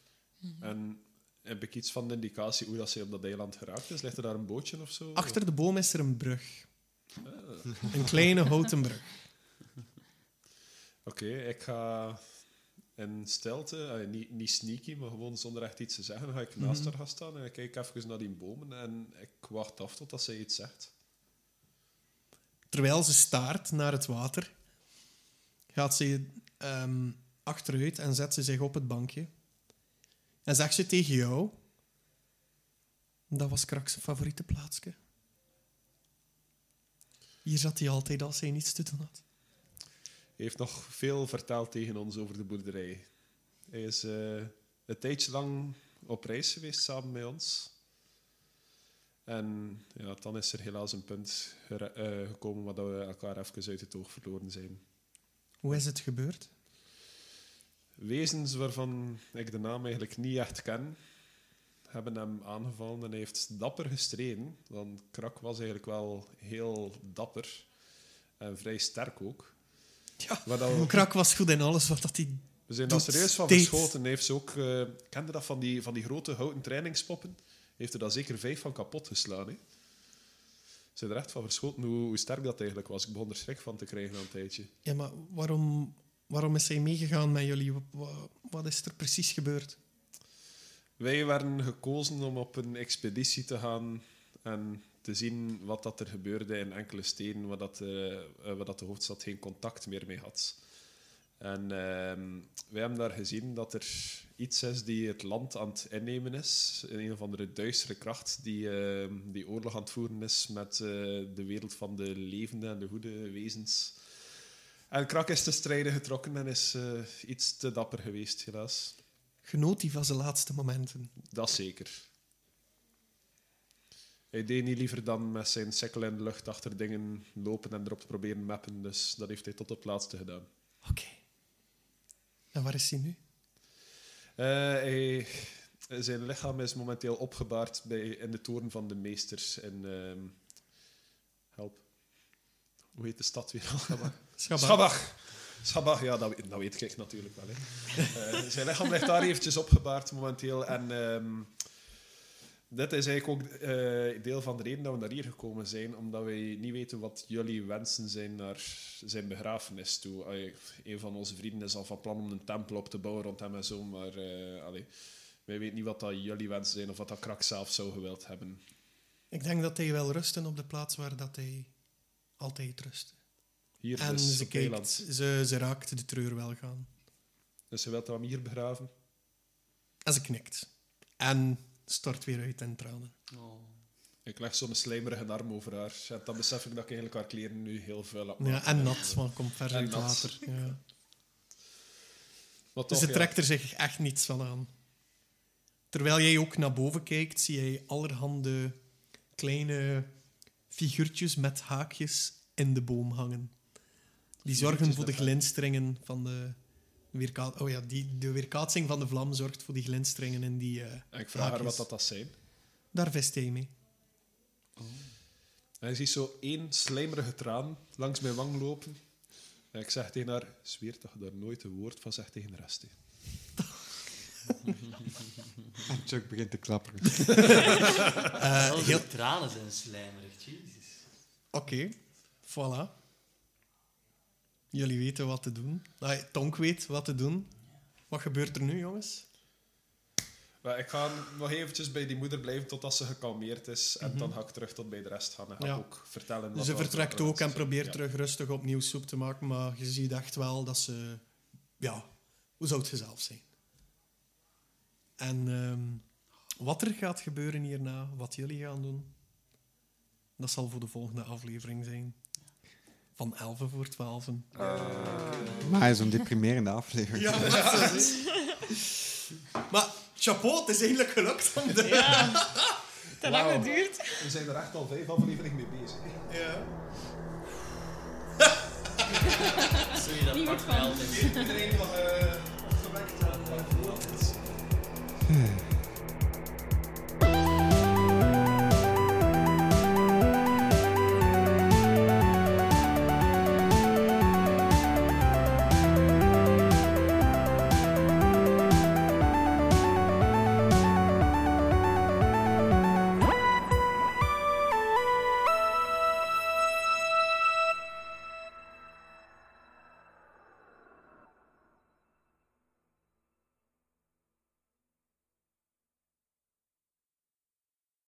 Speaker 1: En heb ik iets van de indicatie hoe dat ze op dat eiland geraakt is? Ligt er daar een bootje of zo?
Speaker 2: Achter de boom is er een brug. Een kleine houten brug.
Speaker 1: Oké, ik ga in stilte, eh, niet, niet sneaky, maar gewoon zonder echt iets te zeggen, ga ik
Speaker 2: Mhm.
Speaker 1: naast haar gaan staan en ik kijk even naar die bomen en ik wacht af totdat zij iets zegt.
Speaker 2: Terwijl ze staart naar het water, gaat ze ehm, achteruit en zet ze zich op het bankje. En zegt ze tegen jou: Dat was Kraks zijn favoriete plaatsje. Hier zat hij altijd als hij niets te doen had.
Speaker 1: Hij heeft nog veel verteld tegen ons over de boerderij. Hij is eh, een tijdje lang op reis geweest samen met ons. En ja, dan is er helaas een punt gere- eh, gekomen waar dat we elkaar even uit het oog verloren zijn.
Speaker 2: Hoe is het gebeurd?
Speaker 1: Wezens waarvan ik de naam eigenlijk niet echt ken, hebben hem aangevallen en hij heeft dapper gestreden. Want Krak was eigenlijk wel heel dapper en vrij sterk ook.
Speaker 2: Ja.
Speaker 1: Maar dat we,
Speaker 2: Krak was goed in alles wat dat hij.
Speaker 1: we zijn daar
Speaker 2: doet
Speaker 1: serieus van
Speaker 2: steeds.
Speaker 1: geschoten. Hij heeft ze ook, eh kende dat van die, van die grote houten trainingspoppen? Hij heeft er daar zeker vijf van kapot geslaan. Hè? Ze zijn er echt van verschoten hoe, hoe sterk dat eigenlijk was. Ik begon er schrik van te krijgen aan een tijdje.
Speaker 2: Ja, maar waarom, waarom is hij meegegaan met jullie? Wa- wa- Wat is er precies gebeurd?
Speaker 1: Wij werden gekozen om op een expeditie te gaan en te zien wat dat er gebeurde in enkele steden waar, dat, eh, eh, waar dat de hoofdstad geen contact meer mee had. En ehm, wij hebben daar gezien dat er iets is die het land aan het innemen is. Een of andere duistere kracht die, ehm, die oorlog aan het voeren is met eh, de wereld van de levende en de goede wezens. En Krak is te strijden getrokken en is eh, iets te dapper geweest, helaas.
Speaker 2: Genoot die van zijn laatste momenten.
Speaker 1: Dat zeker. Hij deed niet liever dan met zijn sekkel in de lucht achter dingen lopen en erop te proberen mappen. Dus dat heeft hij tot op het laatste gedaan.
Speaker 2: Oké. En waar is hij nu?
Speaker 1: Eh, hij, zijn lichaam is momenteel opgebaard bij, in de toren van de meesters in... ehm, help. Hoe heet de stad weer al?
Speaker 2: Schabba.
Speaker 1: Schabach. Schabach, ja, dat, weet- dat weet ik natuurlijk wel. Hè. Eh, zijn lichaam ligt daar eventjes opgebaard momenteel. En ehm, dit is eigenlijk ook eh, deel van de reden dat we naar hier gekomen zijn. Omdat wij niet weten wat jullie wensen zijn naar zijn begrafenis toe. Allee, een van onze vrienden is al van plan om een tempel op te bouwen rond hem en zo. Maar eh, allee, wij weten niet wat dat jullie wensen zijn of wat dat Krak zelf zou gewild hebben.
Speaker 2: Ik denk dat hij wel rusten op de plaats waar dat hij altijd rust.
Speaker 1: Hier
Speaker 2: En
Speaker 1: dus
Speaker 2: ze
Speaker 1: op Eiland.
Speaker 2: kijkt, ze, ze raakt de treur wel gaan.
Speaker 1: Dus ze wilt hem hier begraven.
Speaker 2: En ze knikt. En stort weer uit in tranen.
Speaker 6: Oh,
Speaker 1: Ik leg zo'n slijmerige arm over haar. En dan besef ik dat ik eigenlijk haar kleren nu heel vuil heb.
Speaker 2: Ja, en nat, want komt vers
Speaker 1: En
Speaker 2: uit
Speaker 1: nat.
Speaker 2: water. Ja.
Speaker 1: Maar
Speaker 2: Dus
Speaker 1: toch,
Speaker 2: ze
Speaker 1: ja.
Speaker 2: trekt er zich echt niets van aan. Terwijl jij ook naar boven kijkt, zie jij allerhande kleine figuurtjes met haakjes in de boom hangen. Die zorgen
Speaker 1: Figuurtjes
Speaker 2: voor
Speaker 1: met
Speaker 2: de
Speaker 1: haakjes.
Speaker 2: glinsteringen van de weerkaat... Oh ja, die, de weerkaatsing van de vlam zorgt voor die glinsteringen in die eh,
Speaker 1: En ik vraag haar
Speaker 2: haakjes.
Speaker 1: wat dat, dat zijn.
Speaker 2: Daar vist hij mee.
Speaker 1: En je ziet zo één slijmerige traan langs mijn wang lopen. En ik zeg tegen haar, zweer dat je daar nooit een woord van zegt tegen de rest. hè."
Speaker 4: En Chuck begint te klapperen.
Speaker 2: Eh,
Speaker 6: Zelfs de tranen zijn slijmerig, jezus.
Speaker 2: Oké, voilà. Jullie weten wat te doen. Ah, Tonk weet wat te doen. Wat gebeurt er nu, jongens?
Speaker 1: Maar ik ga nog eventjes bij die moeder blijven totdat ze gekalmeerd is. En dan ga ik terug tot bij de rest gaan en ga
Speaker 2: Mhm. Ja.
Speaker 1: ik
Speaker 2: Dus
Speaker 1: ook vertellen. wat
Speaker 2: ze
Speaker 1: dat
Speaker 2: vertrekt
Speaker 1: voor
Speaker 2: ook en
Speaker 1: mensen zijn.
Speaker 2: probeert
Speaker 1: Ja.
Speaker 2: terug rustig opnieuw soep te maken, maar je ziet echt wel dat ze... Ja, hoe zou het ze zelf zijn? En ehm, wat er gaat gebeuren hierna, wat jullie gaan doen, dat zal voor de volgende aflevering zijn. Van 11 voor 12.
Speaker 4: Maar zo'n deprimerende aflevering.
Speaker 2: Maar chapeau, het is eigenlijk gelukt om de...
Speaker 5: Te lang geduurd.
Speaker 1: We zijn er echt al vijf afleveringen mee bezig.
Speaker 6: Zul je dat
Speaker 9: Niet
Speaker 6: pakt
Speaker 9: goed
Speaker 6: mij
Speaker 9: van.
Speaker 6: altijd.
Speaker 1: Iedereen wat opgewekt aan het